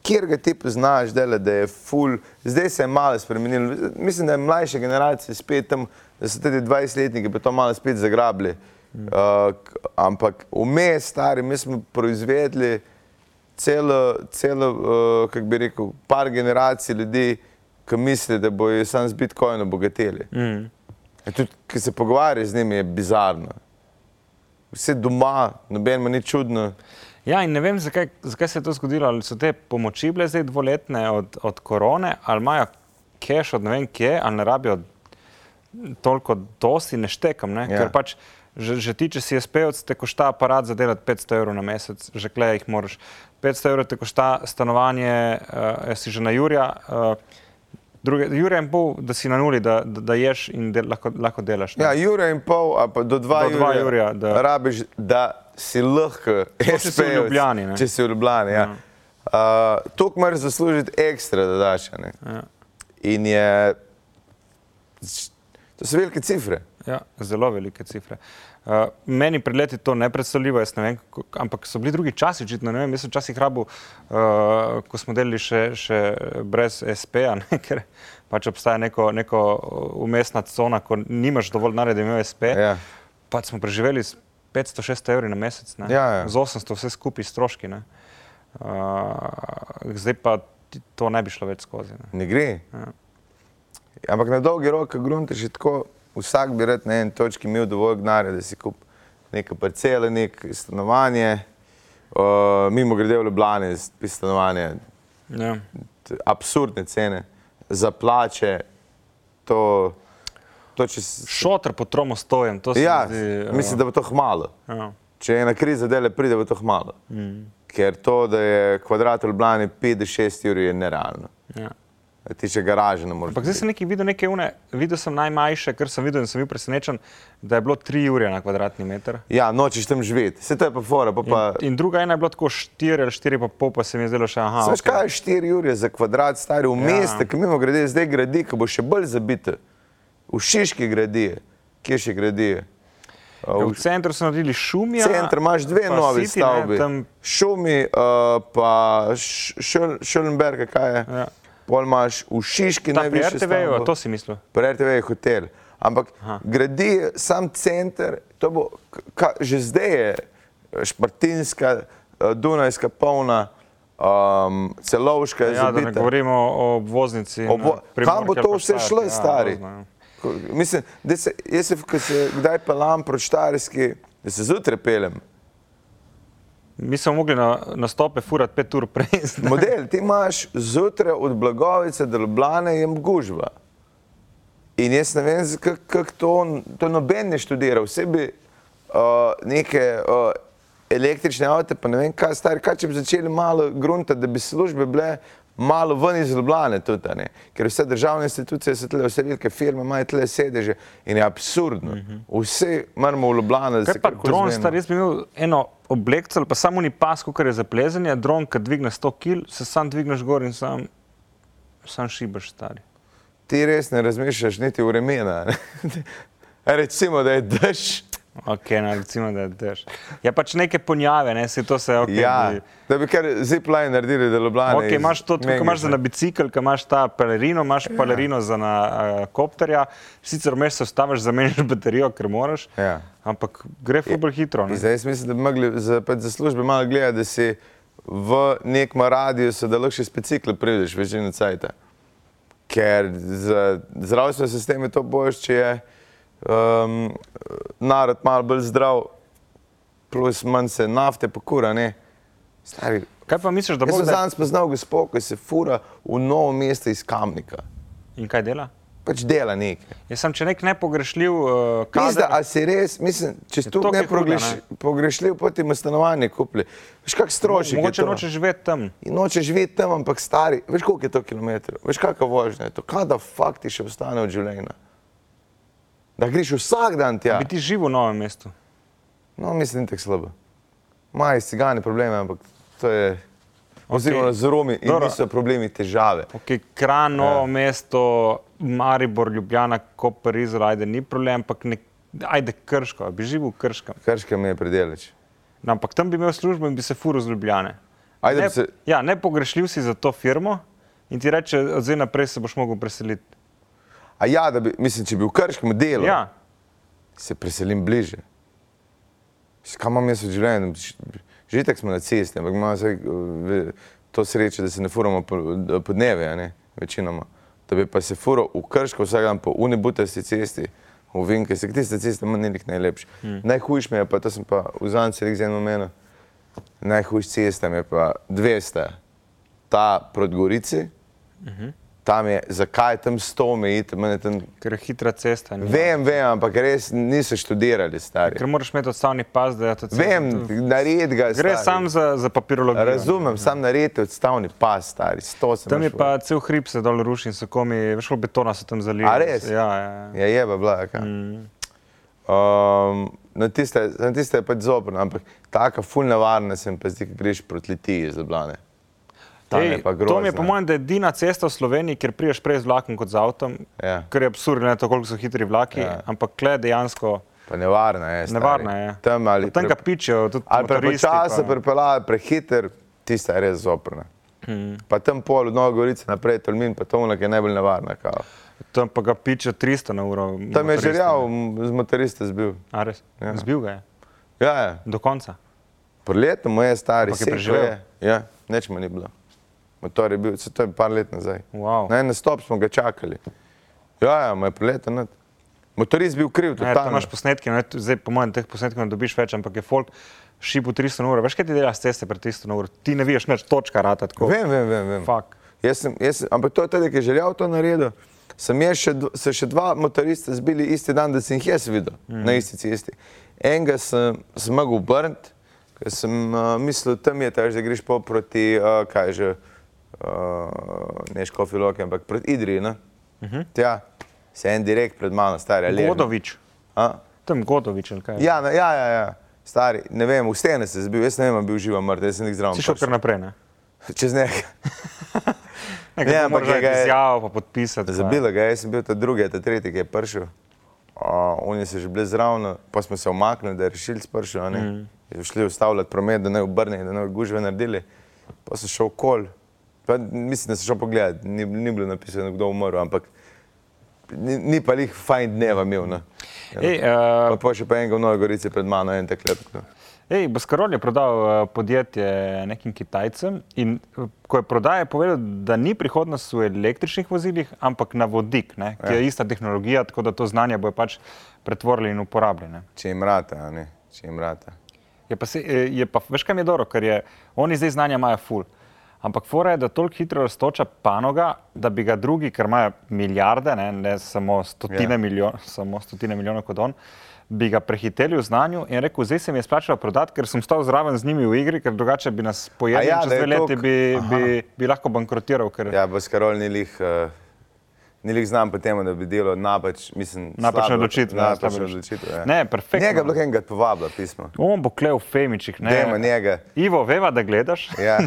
Speaker 1: kjer ga ti poznaš, dele, da je full, zdaj se je malo spremenilo. Mislim, da je mlajše generacije spet tam, da so tudi 20-letniki pa to malo spet zagrabili. Uh, ampak vmes, stari, mi smo proizvedli celo, celo uh, kako bi rekel, par generacij ljudi, ki misli, da bojo samo z Bitcoinom obogateli. Mm. Tudi, ki se pogovarjaš z njimi, je bizarno. Vse doma, noben mu ni čudno.
Speaker 2: Ja, in ne vem, zakaj, zakaj se je to zgodilo. Ali so te pomoči bile zdaj dvoletne od, od korone, ali imajo cache od ne vem kje, ali ne rabijo toliko dosti, ne štekam. Ne?
Speaker 1: Ja.
Speaker 2: Ja. Ker pač že, že ti, če si SPOC, te košta aparat za delati 500 evrov na mesec, že klej jih moraš. 500 evrov te košta stanovanje, uh, si že na Jurja. Uh, Druge, Jure in pol, da si na nuli, da, da, da ješ in de, lahko, lahko delaš. ne.
Speaker 1: Ja, ura in pol, ali pa do dva,
Speaker 2: Do dva
Speaker 1: jurja
Speaker 2: jurja, da.
Speaker 1: rabiš, da si lahko
Speaker 2: Sploh, če si v
Speaker 1: SPJ-ovec,
Speaker 2: Ljubljani, ne.
Speaker 1: Če si v Ljubljani, ja. Uh, Tok moraš zaslužiti ekstra, da daš. a ne.
Speaker 2: Ja.
Speaker 1: In je. To so velike cifre.
Speaker 2: Ja, zelo velike cifre. Uh, meni pred leti to ne predstavljivo, jaz ne vem, kako, ampak so bili drugi časi, očitno. ne vem, Jaz sem včasih rabu, uh, ko smo delali še, še brez SP-ja, ne, *laughs* ker pač obstaja neko, neko umestna cona, ko nimaš dovolj denarja, da imaš SP.
Speaker 1: Ja.
Speaker 2: Pač smo preživeli s 500-600 evri na mesec, ne,
Speaker 1: Ja, ja.
Speaker 2: z 800 vse skupaj stroški. ne. Uh, zdaj pa ti- to ne bi šlo več skozi. Ne.
Speaker 1: Ne gre.
Speaker 2: Ja.
Speaker 1: Ampak na dolgi rok, grunte še tako, vsak bi rad na eni točki imel dovolj denarja, da si kup neke parcele, nek stanovanje. Uh, mimo grede v Ljubljani, s- stanovanje,
Speaker 2: Ja.
Speaker 1: t- absurdne cene za plače. To, to če, s-
Speaker 2: Šotr po tromu stojem, to se
Speaker 1: ja,
Speaker 2: mi zdi.
Speaker 1: mislim, da bo to hmalo.
Speaker 2: da. Ja.
Speaker 1: Če je ena kriza dele, pride bo to hmalo. Mm. Ker to, da je kvadrat v Ljubljani 5-6 ur, je nerealno.
Speaker 2: Ja.
Speaker 1: Ti še garaže ne moreš.
Speaker 2: Ampak zdaj sem nekaj videl, nekaj une, videl sem najmanjše, kar sem videl in sem bil presenečen, da je bilo 3 ure na kvadratni meter.
Speaker 1: Ja, nočeš tam živeti. Vse to je pa fora. Pa pa,
Speaker 2: In druga ena je bila tako 4 ali 4 pa pol, pa se mi je zdelo še, aha,
Speaker 1: Veš, okay. kaj
Speaker 2: okay.
Speaker 1: je 4 ure za kvadrat, stari v
Speaker 2: Ja.
Speaker 1: mestu, ki mimo grede zdaj gradi, ki bo še bolj zabit. V Šiški gradi, kje še gradi.
Speaker 2: v centru so naredili šumija.
Speaker 1: Center imaš dve
Speaker 2: Ja, pa
Speaker 1: novi
Speaker 2: City, ne,
Speaker 1: stavbi.
Speaker 2: Tam,
Speaker 1: Šumi, uh, pa Šulenberg, kaj je.
Speaker 2: Ja.
Speaker 1: Pol imaš v Šiški
Speaker 2: ta pri
Speaker 1: najvišji.
Speaker 2: RTV-ju, to si mislil.
Speaker 1: Pri RTV je hotel. Ampak Aha.
Speaker 2: Aha.
Speaker 1: gradi sam center, to bo, k- ka, že zdaj je eh, Špartinska, eh, Dunajska polna, um, celovška je
Speaker 2: Ja, da ne
Speaker 1: zabita.
Speaker 2: govorimo o obvoznici. na
Speaker 1: Obvo-
Speaker 2: Primorki
Speaker 1: Kam bo
Speaker 2: ali
Speaker 1: to
Speaker 2: pa
Speaker 1: vse
Speaker 2: Štajerski,
Speaker 1: šlo,
Speaker 2: ja,
Speaker 1: stari?
Speaker 2: grozno, ja.
Speaker 1: Ko- Mislim, da se, jaz se, ko se kdaj pelam proti Štajerski, da se zjutraj pelem.
Speaker 2: Mi smo mogli na, na stope furati 5 ur prej. zdaj.
Speaker 1: Model, ti imaš zjutraj od Blagovice do Ljubljana jem gužva. In jaz ne vem, kako kak to, to noben ne študira. Vse bi uh, neke uh, električne avte, pa ne vem kaj, stari, kaj če bi začeli malo grunta, da bi službe bile malo ven iz Ljubljane tudi, a ne? ker vse državne institucije so tle, vse velike firme imajo tle sedeže in je absurdno. Vse moramo v Ljubljano, da
Speaker 2: Mhm. Kaj
Speaker 1: se
Speaker 2: pa
Speaker 1: karkoli
Speaker 2: dron,
Speaker 1: zmenimo.
Speaker 2: star, jaz bi imel eno oblekco ali pa samo ni pas, kot je za plezanje, dron, ki dvigne 100 kg, se sam dvigneš gor in sam, sam šibaš stari.
Speaker 1: ti res ne razmišljaš niti vremena. ne. *laughs* Recimo, da je dež.
Speaker 2: Ok, no, recimo, da je dež. Ja, pač neke ponjave, ne, si to se ok.
Speaker 1: Ja,
Speaker 2: bi-
Speaker 1: da bi kar zipline naredili, da Ljubljana.
Speaker 2: Ok,
Speaker 1: iz-
Speaker 2: imaš to, tako kot imaš za na bicikl, ki imaš ta pelerino, imaš ja. pelerino za na uh, kopterja, sicer vmes se ustaviš, zamenjaš baterijo, ker moraš,
Speaker 1: Ja.
Speaker 2: ampak gre fubr hitro.
Speaker 1: In
Speaker 2: ne.
Speaker 1: Zdaj jaz mislim, da bi mogli za, pač za službe malo gledati, da si v nekem radiusu, da lahko še s bicikli prideš večino cajta. Ker za zdravstvene sisteme to boš, če je um, narod malo bolj zdrav, plus manj se nafte pokura, ne. Stari,
Speaker 2: Kaj pa misliš, da
Speaker 1: Jaz
Speaker 2: bo
Speaker 1: sem
Speaker 2: zdaj?
Speaker 1: danes poznal gospod, ki se fura v novo mesto iz Kamnika.
Speaker 2: In kaj dela?
Speaker 1: Pač dela nekaj.
Speaker 2: Jaz sem če nek nepogrešljiv uh, kader.
Speaker 1: Pizda, a si res, mislim, če si tu
Speaker 2: to, ki
Speaker 1: ne
Speaker 2: je huda,
Speaker 1: progleš, pogrešljiv, potem ima stanovanje kupili. Veš, kak strošek je
Speaker 2: Mogoče
Speaker 1: to? Ja.
Speaker 2: nočeš živeti tam.
Speaker 1: In nočeš živeti tam, ampak stari, veš koliko je to kilometrov, veš kakšna vožnja je to, kaj da fakt ti še ostane od življenja. Da greš vsak dan tja.
Speaker 2: Bi ti živel v novem mestu?
Speaker 1: No, mislim, ni tako slabo. Imajo cigani probleme, ampak to je, oziroma z Romi, in
Speaker 2: Dobro.
Speaker 1: niso problemi težave.
Speaker 2: Okay, Kran, novo ja. mesto, Maribor, Ljubljana, Koper, Izrael, ajde, ni problem, ampak nek, ajde krško, a bi živel v krškem.
Speaker 1: Krška mi je predeleč.
Speaker 2: No, ampak tam bi imel službo in bi se furil z Ljubljane.
Speaker 1: Ajde,
Speaker 2: ne,
Speaker 1: bi se-
Speaker 2: ja, ne pogrešljiv si za to firmo in ti reče, od zdaj naprej se boš mogel preseliti.
Speaker 1: A ja, da bi, mislim, če bi v Krškem delal, ja.
Speaker 2: Ja,
Speaker 1: se preselim bliže. S Kam imam jaz v življenju? Že tako smo na cesti, ampak imamo vsaj, eh, to srečo, da se ne furamo po- podneve, a ne, večinoma. Da bi pa se furo v krško vsak dan po unibutasti cesti, v vinke, se tiste ceste manj nekih najlepši. Mm. Najhujš mi je pa, to sem pa v Zanci rekel z enim omenom, najhujš cesta mi je pa 200, ta proti Gorici, mm -hmm. tam je, zakaj je tam 100 omejitev, meni je tam
Speaker 2: Ker je hitra cesta. ni-
Speaker 1: Vem, vem, ampak res niso študirali, stari.
Speaker 2: Ker moraš imeti odstavni pas, da je ta cesta.
Speaker 1: Vem, nared ga.
Speaker 2: Gre
Speaker 1: stari.
Speaker 2: sam za, za papirologijo.
Speaker 1: Razumem, sam naredite odstavni pas, stari. Sto sem.
Speaker 2: Tam je
Speaker 1: šel.
Speaker 2: pa cel hrib se dol ruši in so komi, veš, koliko betona so tam zalili.
Speaker 1: A res?
Speaker 2: Ja, ja. ja.
Speaker 1: Ja, je pa bila. Mm. Um, na tiste, na tiste je pač zoprn, ampak taka fulna varna sem pa zdaj, ki greš proti Litiji iz Ljubljane. Tam
Speaker 2: Ej,
Speaker 1: je pa grozno.
Speaker 2: to mi je po mojem, da je edina cesta v Sloveniji, kjer priješ prej z vlakom kot z avtom,
Speaker 1: Ja.
Speaker 2: ker je absurdno, ne, to, koliko so hitri vlaki,
Speaker 1: Ja.
Speaker 2: ja. ampak kle dejansko
Speaker 1: Pa nevarna je. Stari.
Speaker 2: nevarna je.
Speaker 1: Tam ali
Speaker 2: tam ga
Speaker 1: pre-
Speaker 2: pičejo, tudi
Speaker 1: Ali
Speaker 2: motoristi,
Speaker 1: prepočasno
Speaker 2: pa-
Speaker 1: prepeljajo, prehiter, tista je res zoprna.
Speaker 2: Mm.
Speaker 1: Hmm. Pa tam pol od Nove Gorice naprej, Tolmin, pa Tovnak je najbolj nevarna. Kao.
Speaker 2: Tam pa ga piče 300 na uro.
Speaker 1: Tam je
Speaker 2: motoristi,
Speaker 1: žerjav,
Speaker 2: ne.
Speaker 1: m, z motorista zbil.
Speaker 2: A res?
Speaker 1: Ja.
Speaker 2: Ja. Zbil ga je.
Speaker 1: Ja, ja.
Speaker 2: Do konca.
Speaker 1: Preleto mu je stari,
Speaker 2: Ampak je
Speaker 1: sekal
Speaker 2: preživel?
Speaker 1: je. Ja, nič mu ni bilo. Motor je bil, saj to je par let nazaj.
Speaker 2: Wow.
Speaker 1: Na en stop smo ga čakali. Ja, ja, mu je preleto not. Motorist bil kriv,
Speaker 2: Ne, tam
Speaker 1: totalno.
Speaker 2: Ja, imaš posnetke, ne, tu- zdaj po mojem teh posnetkov ne dobiš več, ampak je folk šipu 300 na uro. Veš, kaj ti delaš s ceste pred 300 na uro? Ti ne vidiš nič, točka rata tako.
Speaker 1: Vem, vem, vem. vem.
Speaker 2: Fak.
Speaker 1: Jaz sem, jaz sem, ampak to je tudi, ki je želel to narediti. Sem jaz še, dv- se še dva motorista zbili isti dan, da sem jih jaz videl mm. na isti cesti. Enega sem zmagel obrniti, ker sem uh, mislil, tam je ta, že greš po proti, uh, kaj je že, uh, ne škofi loke, ampak proti Idri. Uh -huh. Tja, se en direkt pred mano, stari ali.
Speaker 2: Godovič. Tam Godovič ali kaj.
Speaker 1: Ja, na- ja, ja, ja. Stari, ne vem, v stene se je zbil, jaz ne vem, ali je bil živo mrtev, jaz sem jih
Speaker 2: Si šel kar
Speaker 1: zdrav.
Speaker 2: naprej, ne?
Speaker 1: Čez nekaj.
Speaker 2: Nekaj
Speaker 1: Ne,
Speaker 2: ne,
Speaker 1: Ja, ampak
Speaker 2: ampak
Speaker 1: ga je-
Speaker 2: je izjavo pa podpisati.
Speaker 1: Zabila ga je, jaz sem bil ta drugi, ta tretji, ki je prišel. Uh, oni so že bili zraven, pa smo se omaknili, da je rešilc prišel. a ne.
Speaker 2: Mm.
Speaker 1: In so Šli ustavljati promet, da ne obrne, da ne gužve naredili. Pa so šel kol. Pa, mislim, da so šel pogledat, ni, ni bilo napisano, kdo je umrl, ampak ni, ni pa jih fajn dneva imel. Ne.
Speaker 2: Ej, uh,
Speaker 1: Pa, pa še pa enega v Novi Gorici pred mano, en tak lep. no.
Speaker 2: Ej, Baskarol je prodal eh, podjetje nekim Kitajcem in eh, ko je prodal, je povedal, da ni prihodnost v električnih vozilih, ampak na vodik, ne,
Speaker 1: Ja.
Speaker 2: ki je ista tehnologija, tako da to znanje bojo pač pretvorili in uporabljali. ne.
Speaker 1: Če jim rata, a ne, če jim rata.
Speaker 2: Je pa, se, eh, je pa, veš, kaj mi je dobro, ker je, oni zdaj znanja imajo ful. Ampak fora je, da toliko hitro raztoča panoga, da bi ga drugi, ker imajo milijarde, ne, ne samo, stotine
Speaker 1: Ja.
Speaker 2: yeah. milijon, samo stotine milijonov kot on, bi ga prehiteli v znanju in rekel, zdaj se mi je splačalo prodati, ker sem stal zraven z njimi v igri, ker drugače bi nas pojedli,
Speaker 1: A ja,
Speaker 2: ja, čez
Speaker 1: da je
Speaker 2: dve leti
Speaker 1: toliko-
Speaker 2: bi, bi, bi lahko bankrotiral. Ker, ja.
Speaker 1: Ja, Baskarol ni lih. Uh, Ni lih znam po tem, da bi delal napač, mislim,
Speaker 2: Napačne
Speaker 1: slabo-
Speaker 2: odločitve, ja,
Speaker 1: Napačne
Speaker 2: slabe odločitve.
Speaker 1: odločitve. ja.
Speaker 2: Ne, perfektno.
Speaker 1: Njega bilo enega povabila pismo.
Speaker 2: On bo klev v Femičih, ne.
Speaker 1: Dajmo njega.
Speaker 2: Ivo, veva, da gledaš. *laughs*
Speaker 1: Ja.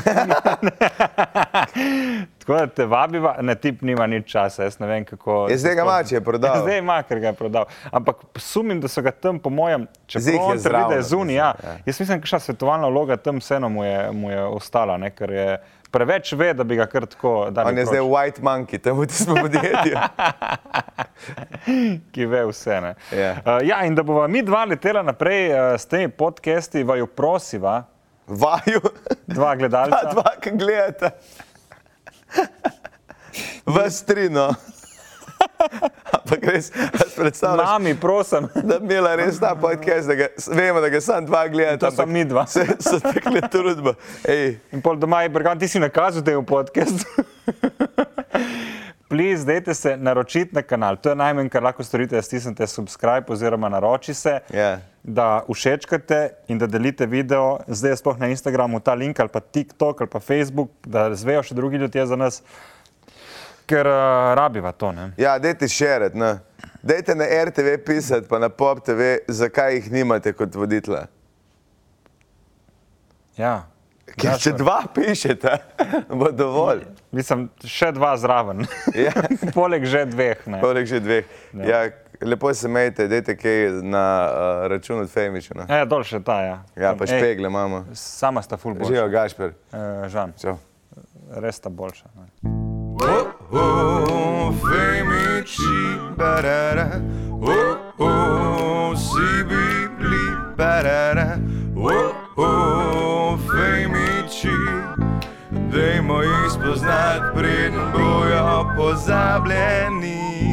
Speaker 2: Tako da te vabiva, ne tip nima nič časa, jaz ne vem kako.
Speaker 1: Ja, zdaj ga ima,
Speaker 2: *laughs*
Speaker 1: če je prodal.
Speaker 2: Zdaj ima, ker ga je prodal. Ampak sumim, da so ga tam, po mojem, če
Speaker 1: Zdaj
Speaker 2: se
Speaker 1: jih je
Speaker 2: on trdi, da
Speaker 1: zraven,
Speaker 2: je zunaj. Ja. Jaz mislim, kakšna svetovalna vloga tam vseeno mu je, mu je ostala, ne? ker je preveč ve, da bi ga kar tako dal.
Speaker 1: On je zdaj White Monkey, tam v tistem podjetju.
Speaker 2: *laughs* ki ve vse. ne.
Speaker 1: Ja.
Speaker 2: Uh, ja, in da bova mi dva letela naprej uh, s temi podcasti, vaju prosiva,
Speaker 1: Vaju,
Speaker 2: dva
Speaker 1: ta
Speaker 2: gledalca.
Speaker 1: *laughs* dva, ki gledata. Vas tri, no. Ampak res, jaz predstavljam,
Speaker 2: Mami, prosim.
Speaker 1: da bi imela res ta podcast, da ga, vemo, da ga sam dva gledata.
Speaker 2: To sta
Speaker 1: ampak
Speaker 2: mi dva.
Speaker 1: Se, se takle trudba. Ej,
Speaker 2: In pol doma je brgan, ti si nakazal, da je v
Speaker 1: *laughs*
Speaker 2: podkastu. Please, dajte se naročiti na kanal. To je najmanj, kar lahko storite, da stisnete subscribe oziroma naroči se,
Speaker 1: Ja.
Speaker 2: da všečkate in da delite video. Zdaj je sploh na Instagramu ta link ali pa TikTok ali pa Facebook, da zvejo še drugi ljudje za nas, ker uh, rabiva to. Ne?
Speaker 1: Ja, dajte širiti. No. Dajte na RTV pisati, pa na Pop TV, zakaj jih nimate kot voditla.
Speaker 2: Ja.
Speaker 1: Ker če dva pišete, *laughs* bo dovolj.
Speaker 2: Mislim, še dva zraven.
Speaker 1: Ja.
Speaker 2: *laughs* Poleg že dveh. ne.
Speaker 1: Poleg že dveh. Ja, lepo se mejte, dajte kaj na uh, račun od Femiča. No.
Speaker 2: Ja, dol še ta, ja.
Speaker 1: Ja, pa
Speaker 2: Ej,
Speaker 1: špegle imamo.
Speaker 2: Sama sta full boljša.
Speaker 1: Živijo, Gašper.
Speaker 2: Uh, žan,
Speaker 1: Čau.
Speaker 2: res sta boljša. Ne.
Speaker 1: Oh, oh, femiči, barara, oh, oh, si bi bili, barara, pozabljeni.